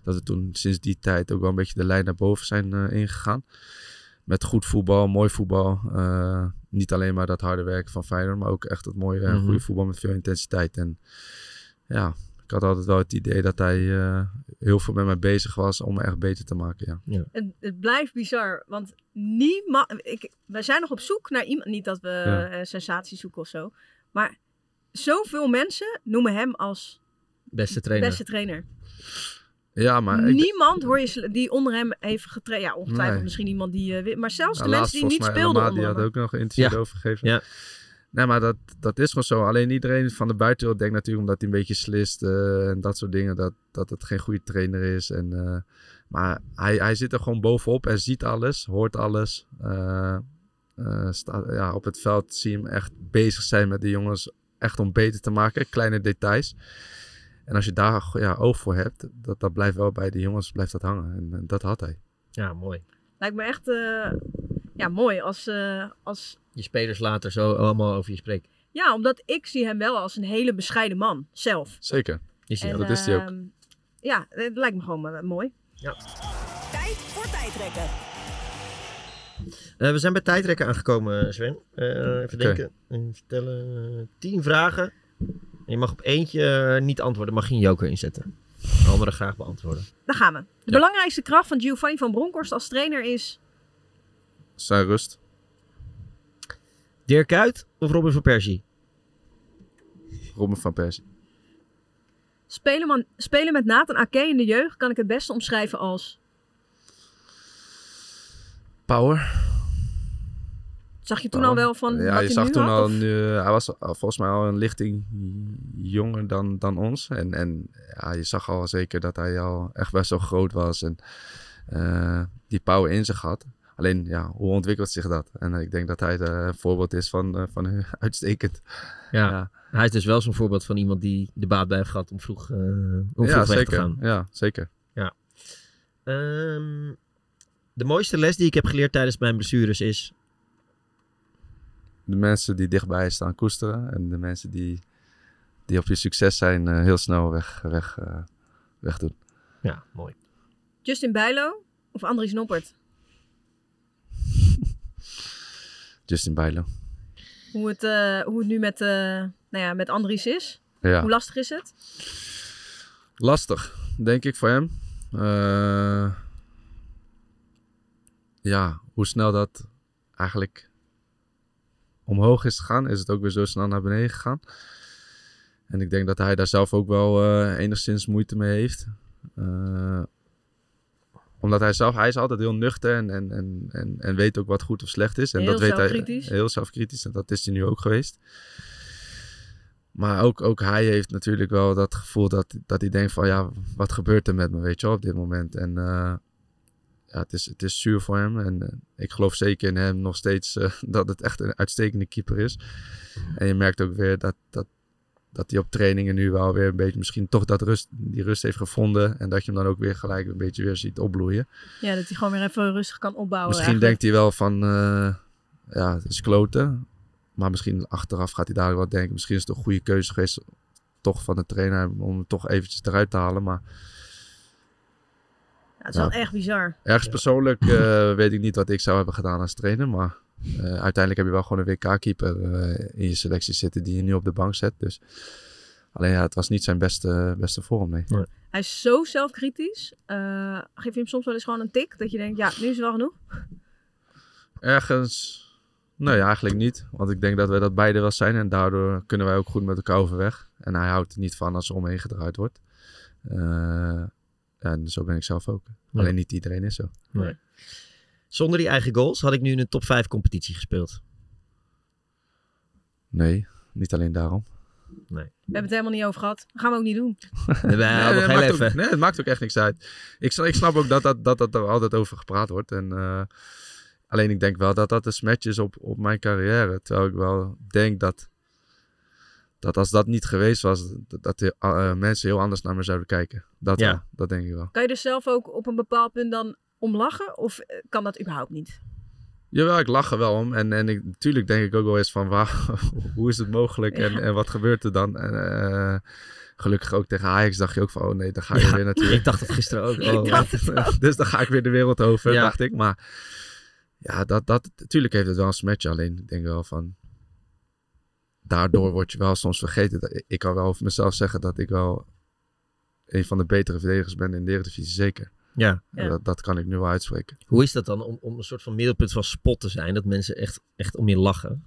S4: dat we toen sinds die tijd ook wel een beetje de lijn naar boven zijn eh, ingegaan. Met goed voetbal, mooi voetbal. Eh, niet alleen maar dat harde werk van Feyenoord. Maar ook echt het mooie, eh,
S5: Mhm.
S4: goede voetbal met veel intensiteit. En ja, ik had altijd wel het idee dat hij eh, heel veel met mij bezig was om me echt beter te maken. Ja.
S2: Het, het blijft bizar, want niemand... Ik, we zijn nog op zoek naar iemand... Niet dat we
S4: Ja.
S2: eh, sensatie zoeken of zo. Maar zoveel mensen noemen hem als
S5: Beste trainer.
S2: beste trainer.
S4: Ja, maar ik,
S2: niemand hoor je sle- die onder hem heeft getraind. Ja, ongetwijfeld
S4: Nee.
S2: misschien iemand die... eh, win- maar zelfs
S4: nou,
S2: de
S4: laatst
S2: mensen die niet
S4: volgens mij
S2: speelden
S4: Elma,
S2: onder
S4: die had
S2: hem.
S4: ook nog een interview
S5: Ja.
S4: over gegeven.
S5: Ja.
S4: Nee, maar dat, dat is gewoon zo. Alleen iedereen van de buitenwereld denkt natuurlijk omdat hij een beetje slist eh, en dat soort dingen, dat, dat het geen goede trainer is. En, eh, maar hij, hij zit er gewoon bovenop en ziet alles, hoort alles. Eh, eh, sta- ja, op het veld zie je hem echt bezig zijn met de jongens, echt om beter te maken, kleine details. En als je daar ja, oog voor hebt, dat, dat blijft wel bij de jongens blijft dat hangen. En, eh, dat had hij.
S5: Ja, mooi.
S2: Lijkt me echt eh, ja, mooi als, eh, als...
S5: Je spelers later zo allemaal over je spreken.
S2: Ja, omdat ik zie hem wel als een hele bescheiden man, zelf.
S4: Zeker.
S5: Is hij
S2: En,
S5: ook.
S4: dat is hij ook.
S2: ehm, ja, het lijkt me gewoon eh, mooi.
S6: Tijd voor tijdrekken.
S5: Eh, we zijn bij tijdrekken aangekomen, Sven. Eh, even
S4: Oké.
S5: denken. En vertellen. eh, Tien vragen. En je mag op eentje eh, niet antwoorden. Mag je een joker inzetten. De andere graag beantwoorden.
S2: Daar gaan we. De belangrijkste kracht van Giovanni van Bronckhorst als trainer is...
S4: Zijn rust.
S5: Dirk Kuyt of Robin van Persie?
S4: Robin van Persie.
S2: Spelen, man- spelen met Nathan Ake in de jeugd kan ik het beste omschrijven als...
S4: Power.
S2: Zag je toen
S4: Oh,
S2: al wel van wat
S4: Ja, je
S2: hij
S4: zag
S2: nu
S4: toen
S2: had,
S4: al,
S2: of-
S4: een, eh, hij was al- volgens mij al een lichting jonger dan, dan ons. En, en ja, je zag al zeker dat hij al echt best wel groot was en eh, die power in zich had. Alleen, ja, hoe ontwikkelt zich dat? En ik denk dat hij eh, een voorbeeld is van, eh, van eh, uitstekend.
S5: Ja.
S4: Ja.
S5: Hij is dus wel zo'n voorbeeld van iemand die de baat bij heeft gehad om vroeg, eh, om vroeg
S4: ja,
S5: weg
S4: zeker.
S5: te gaan.
S4: Ja, zeker.
S5: Ehm, de mooiste les die ik heb geleerd tijdens mijn blessures is...
S4: De mensen die dichtbij je staan koesteren en de mensen die, die op je succes zijn eh, heel snel weg, weg, eh, wegdoen.
S5: Ja, mooi.
S2: Justin Bijlo of Andries Noppert?
S4: Justin Bijlo.
S2: Hoe het, eh, hoe het nu met, eh, nou ja, met Andries is?
S4: Ja.
S2: Hoe lastig is het?
S4: Lastig, denk ik, voor hem. Eh, ja, hoe snel dat eigenlijk omhoog is gegaan, is het ook weer zo snel naar beneden gegaan. En ik denk dat hij daar zelf ook wel eh, enigszins moeite mee heeft. Eh, omdat hij zelf, hij is altijd heel nuchter en, en, en, en, en weet ook wat goed of slecht is. En
S2: Heel
S4: dat weet
S2: zelfkritisch.
S4: Hij, heel zelfkritisch en dat is hij nu ook geweest. Maar ook, ook hij heeft natuurlijk wel dat gevoel dat, dat hij denkt van ja, wat gebeurt er met me, weet je wel, op dit moment. En eh, ja, het is, het is zuur voor hem. En eh, ik geloof zeker in hem nog steeds eh, dat het echt een uitstekende keeper is. En je merkt ook weer dat, dat, dat hij op trainingen nu wel weer een beetje misschien toch dat rust, die rust heeft gevonden. En dat je hem dan ook weer gelijk een beetje weer ziet opbloeien.
S2: Ja, dat hij gewoon weer even rustig kan opbouwen.
S4: Misschien
S2: eigenlijk.
S4: denkt hij wel van, eh, ja, het is kloten. Maar misschien achteraf gaat hij daar wel denken, misschien is het een goede keuze geweest toch van de trainer om hem toch eventjes eruit te halen. Maar
S2: Ja, het is wel echt bizar.
S4: ergens
S5: Ja.
S4: persoonlijk eh, weet ik niet wat ik zou hebben gedaan als trainer. Maar eh, uiteindelijk heb je wel gewoon een WK-keeper eh, in je selectie zitten die je nu op de bank zet. Dus alleen ja, het was niet zijn beste, beste vorm, nee.
S2: Hij is zo zelfkritisch. Eh, geef je hem soms wel eens gewoon een tik? Dat je denkt, ja, nu is het wel genoeg.
S4: Ergens Nee, eigenlijk niet. Want ik denk dat wij dat beide wel zijn. En daardoor kunnen wij ook goed met elkaar overweg. En hij houdt er niet van als er omheen gedraaid wordt. Eh, en zo ben ik zelf ook.
S5: Ja.
S4: Alleen niet iedereen is zo.
S5: Zonder die eigen goals had ik nu in een top 5 competitie gespeeld.
S4: Nee, niet alleen daarom.
S2: We hebben het helemaal niet over gehad. Dat gaan we ook niet doen.
S5: Nee, wij
S4: Nee,
S5: hadden
S4: nee,
S5: nog heel
S4: maakt ook-
S5: even.
S4: nee, het maakt ook echt niks uit. Ik, sna- ik snap ook dat, dat, dat, dat er altijd over gepraat wordt. En, eh, alleen ik denk wel dat dat een smatch is op, op mijn carrière. Terwijl ik wel denk dat, dat als dat niet geweest was, dat, dat die, eh, mensen heel anders naar me zouden kijken. Dat,
S5: Ja.
S4: wel, dat denk ik wel.
S2: Kan je er zelf ook op een bepaald punt dan om lachen? Of eh, kan dat überhaupt niet?
S4: Jawel, ik lach er wel om. En, en ik, natuurlijk denk ik ook wel eens van, waar, hoe is het mogelijk en,
S2: Ja.
S4: en wat gebeurt er dan? En, eh, gelukkig ook tegen Ajax dacht je ook van, oh nee, dan ga je
S5: Ja,
S4: weer natuurlijk.
S5: Ik dacht dat gisteren ook.
S2: Ik
S5: Oh,
S2: dacht
S4: dus dan ga ik weer de wereld over,
S5: Ja.
S4: dacht ik. Maar ja, dat, dat, natuurlijk heeft het wel een smetje. Alleen ik denk wel van, daardoor word je wel soms vergeten. Dat- Ik kan wel over mezelf zeggen dat ik wel een van de betere verdedigers ben in de Eredivisie, zeker.
S5: Ja.
S2: Ja.
S4: Dat, dat kan ik nu wel uitspreken.
S5: Hoe is dat dan om, om een soort van middelpunt van spot te zijn? Dat mensen echt, echt om je lachen.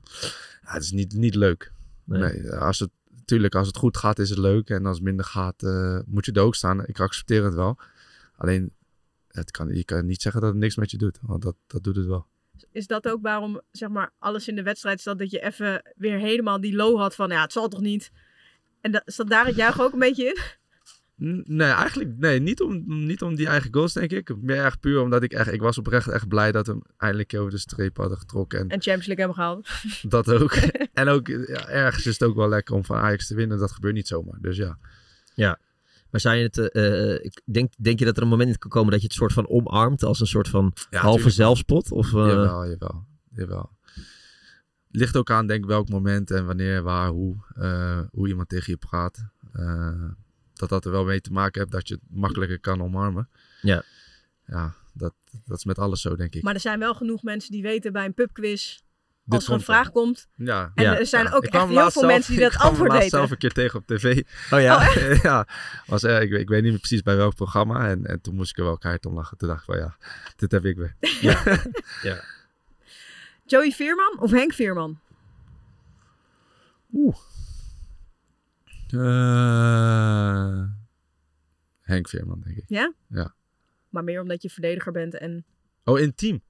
S4: Ja, het is niet, niet leuk.
S5: Nee.
S4: Nee, als het, tuurlijk, als het goed gaat is het leuk. En als het minder gaat, eh, moet je er ook staan. Ik accepteer het wel. Alleen, het kan, je kan niet zeggen dat het niks met je doet. Want dat, dat doet het wel.
S2: Is dat ook waarom zeg maar, alles in de wedstrijd staat dat je even weer helemaal die low had van ja, het zal toch niet? En dat, zat daar het juichen ook een beetje in?
S4: N- Nee, eigenlijk nee, niet, om, niet om die eigen goals, denk ik. Meer echt puur omdat ik echt... Ik was oprecht echt blij dat we hem eindelijk een keer over de streep hadden getrokken. En
S2: En Champions League hebben gehaald.
S4: dat ook. en ook ja, ergens is het ook wel lekker om van Ajax te winnen. Dat gebeurt niet zomaar. Dus ja.
S5: Maar zou je het, eh, eh, ik denk, denk je dat er een moment kan komen dat je het soort van omarmt als een soort van
S4: ja
S5: halve
S4: tuurlijk.
S5: zelfspot? Of, eh,
S4: Jawel, jawel, jawel. Ligt ook aan, denk ik, welk moment en wanneer, waar, hoe, eh, hoe iemand tegen je praat. Eh, dat dat er wel mee te maken heeft dat je het makkelijker kan omarmen.
S5: Ja.
S4: Ja, dat, dat is met alles zo, denk ik.
S2: Maar er zijn wel genoeg mensen die weten bij een pubquiz
S4: Dit
S2: als er een
S4: komt
S2: vraag komt.
S4: Ja.
S2: En
S5: Ja.
S2: er zijn
S4: Ja,
S2: ook
S4: ik kwam
S2: echt heel
S4: laatst
S2: veel
S4: zelf-
S2: mensen die dat
S4: ik kwam hem
S2: antwoord
S4: laatst
S2: weten.
S4: zelf een keer tegen op tv.
S5: Oh ja.
S4: ja, was, eh, ik, weet- ik weet niet meer precies bij welk programma. En, en toen moest ik er wel keihard om lachen. Toen dacht ik van ja, dit heb ik weer.
S2: Joey Veerman of Henk Veerman?
S4: Eh, Henk Veerman, denk ik.
S2: Maar meer omdat je verdediger bent en
S4: Oh, intiem.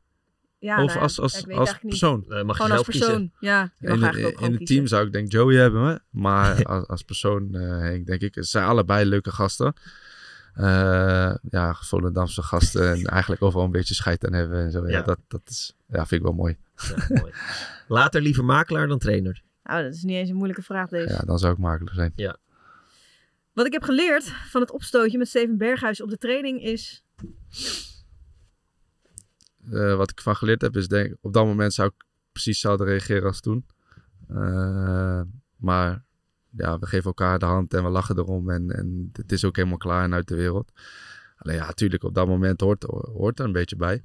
S2: ja,
S4: of
S2: nou ja, ja,
S4: als,
S2: ik
S4: als,
S2: weet
S4: als
S2: eigenlijk niet.
S4: persoon.
S5: eh, mag je
S2: Gewoon als
S5: zelf kiezen?
S2: persoon. Ja, je mag
S4: In,
S2: eigenlijk ook
S4: in
S2: gewoon
S4: het
S2: kiezen.
S4: team zou ik denk Joey hebben, hè. maar als, als persoon eh, Henk, denk ik. Ze zijn allebei leuke gasten. Eh ja, Volendamse gasten en eigenlijk overal een beetje scheid aan hebben en zo. Ja,
S5: Ja.
S4: dat, dat is, ja, vind ik wel mooi.
S5: Ja, mooi. Later liever makelaar dan trainer.
S2: Nou, dat is niet eens een moeilijke vraag deze.
S4: Ja, dan zou ik makkelijk zijn.
S2: Wat ik heb geleerd van het opstootje met Steven Berghuis op de training is...
S4: Eh, wat ik van geleerd heb is denk ik, op dat moment zou ik precies hetzelfde reageren als toen. Eh, maar ja, we geven elkaar de hand en we lachen erom en, en het is ook helemaal klaar en uit de wereld. Alleen ja, natuurlijk op dat moment hoort, hoort er een beetje bij.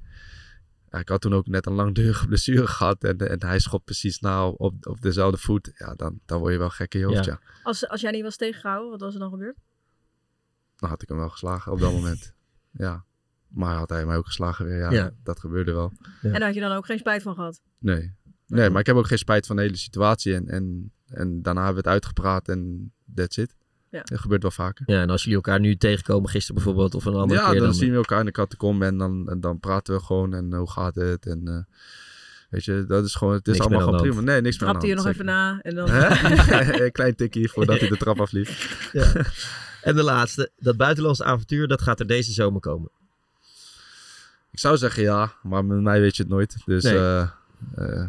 S4: Ja, ik had toen ook net een langdurige blessure gehad en, en hij schopt precies na op, op, op dezelfde voet. Ja, dan, dan word je wel gek in je hoofd, ja.
S2: Als, als jij niet was tegengehouden, wat was er dan gebeurd?
S4: Dan had ik hem wel geslagen op dat moment. ja, maar had hij mij ook geslagen weer, ja.
S5: Ja.
S4: Dat gebeurde wel.
S5: Ja.
S2: En daar had je dan ook geen spijt van
S4: Nou,
S2: gehad?
S4: Nee. Nee, maar ik heb ook geen spijt van de hele situatie. En, en, en daarna hebben we het uitgepraat en that's it.
S2: Ja.
S4: Dat gebeurt wel vaker.
S5: Ja, en als jullie elkaar nu tegenkomen, gisteren bijvoorbeeld, of een andere
S4: ja,
S5: keer,
S4: dan,
S5: dan,
S4: zien we elkaar in de catacombe en dan, en dan praten we gewoon en hoe gaat het. En eh, weet je, dat is gewoon, het is
S5: Niks
S4: allemaal
S5: meer aan
S4: gewoon
S5: de
S4: prima. Nee, niks meer aan
S2: Trapte je nog even
S4: de hand,
S2: na en dan...
S4: zeker. nou, Hè? Een klein tikje voordat hij de trap afliep.
S5: En de laatste, dat buitenlandse avontuur, dat gaat er deze zomer komen.
S4: Ik zou zeggen ja, maar met mij weet je het nooit. Dus
S5: Nee.
S4: eh, eh,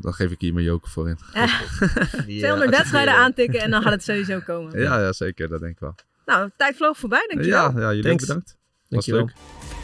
S4: dan geef ik hier mijn joker voor in.
S5: Die, eh,
S2: 200 wedstrijden
S5: accepteren.
S2: aantikken en dan gaat het sowieso komen.
S4: Ja, ja zeker. Dat denk ik wel.
S2: Nou, tijd vloog voorbij, dankjewel.
S4: ja, ja, jullie ook
S5: Thanks.
S4: bedankt. Was
S5: Dankjewel.
S4: leuk.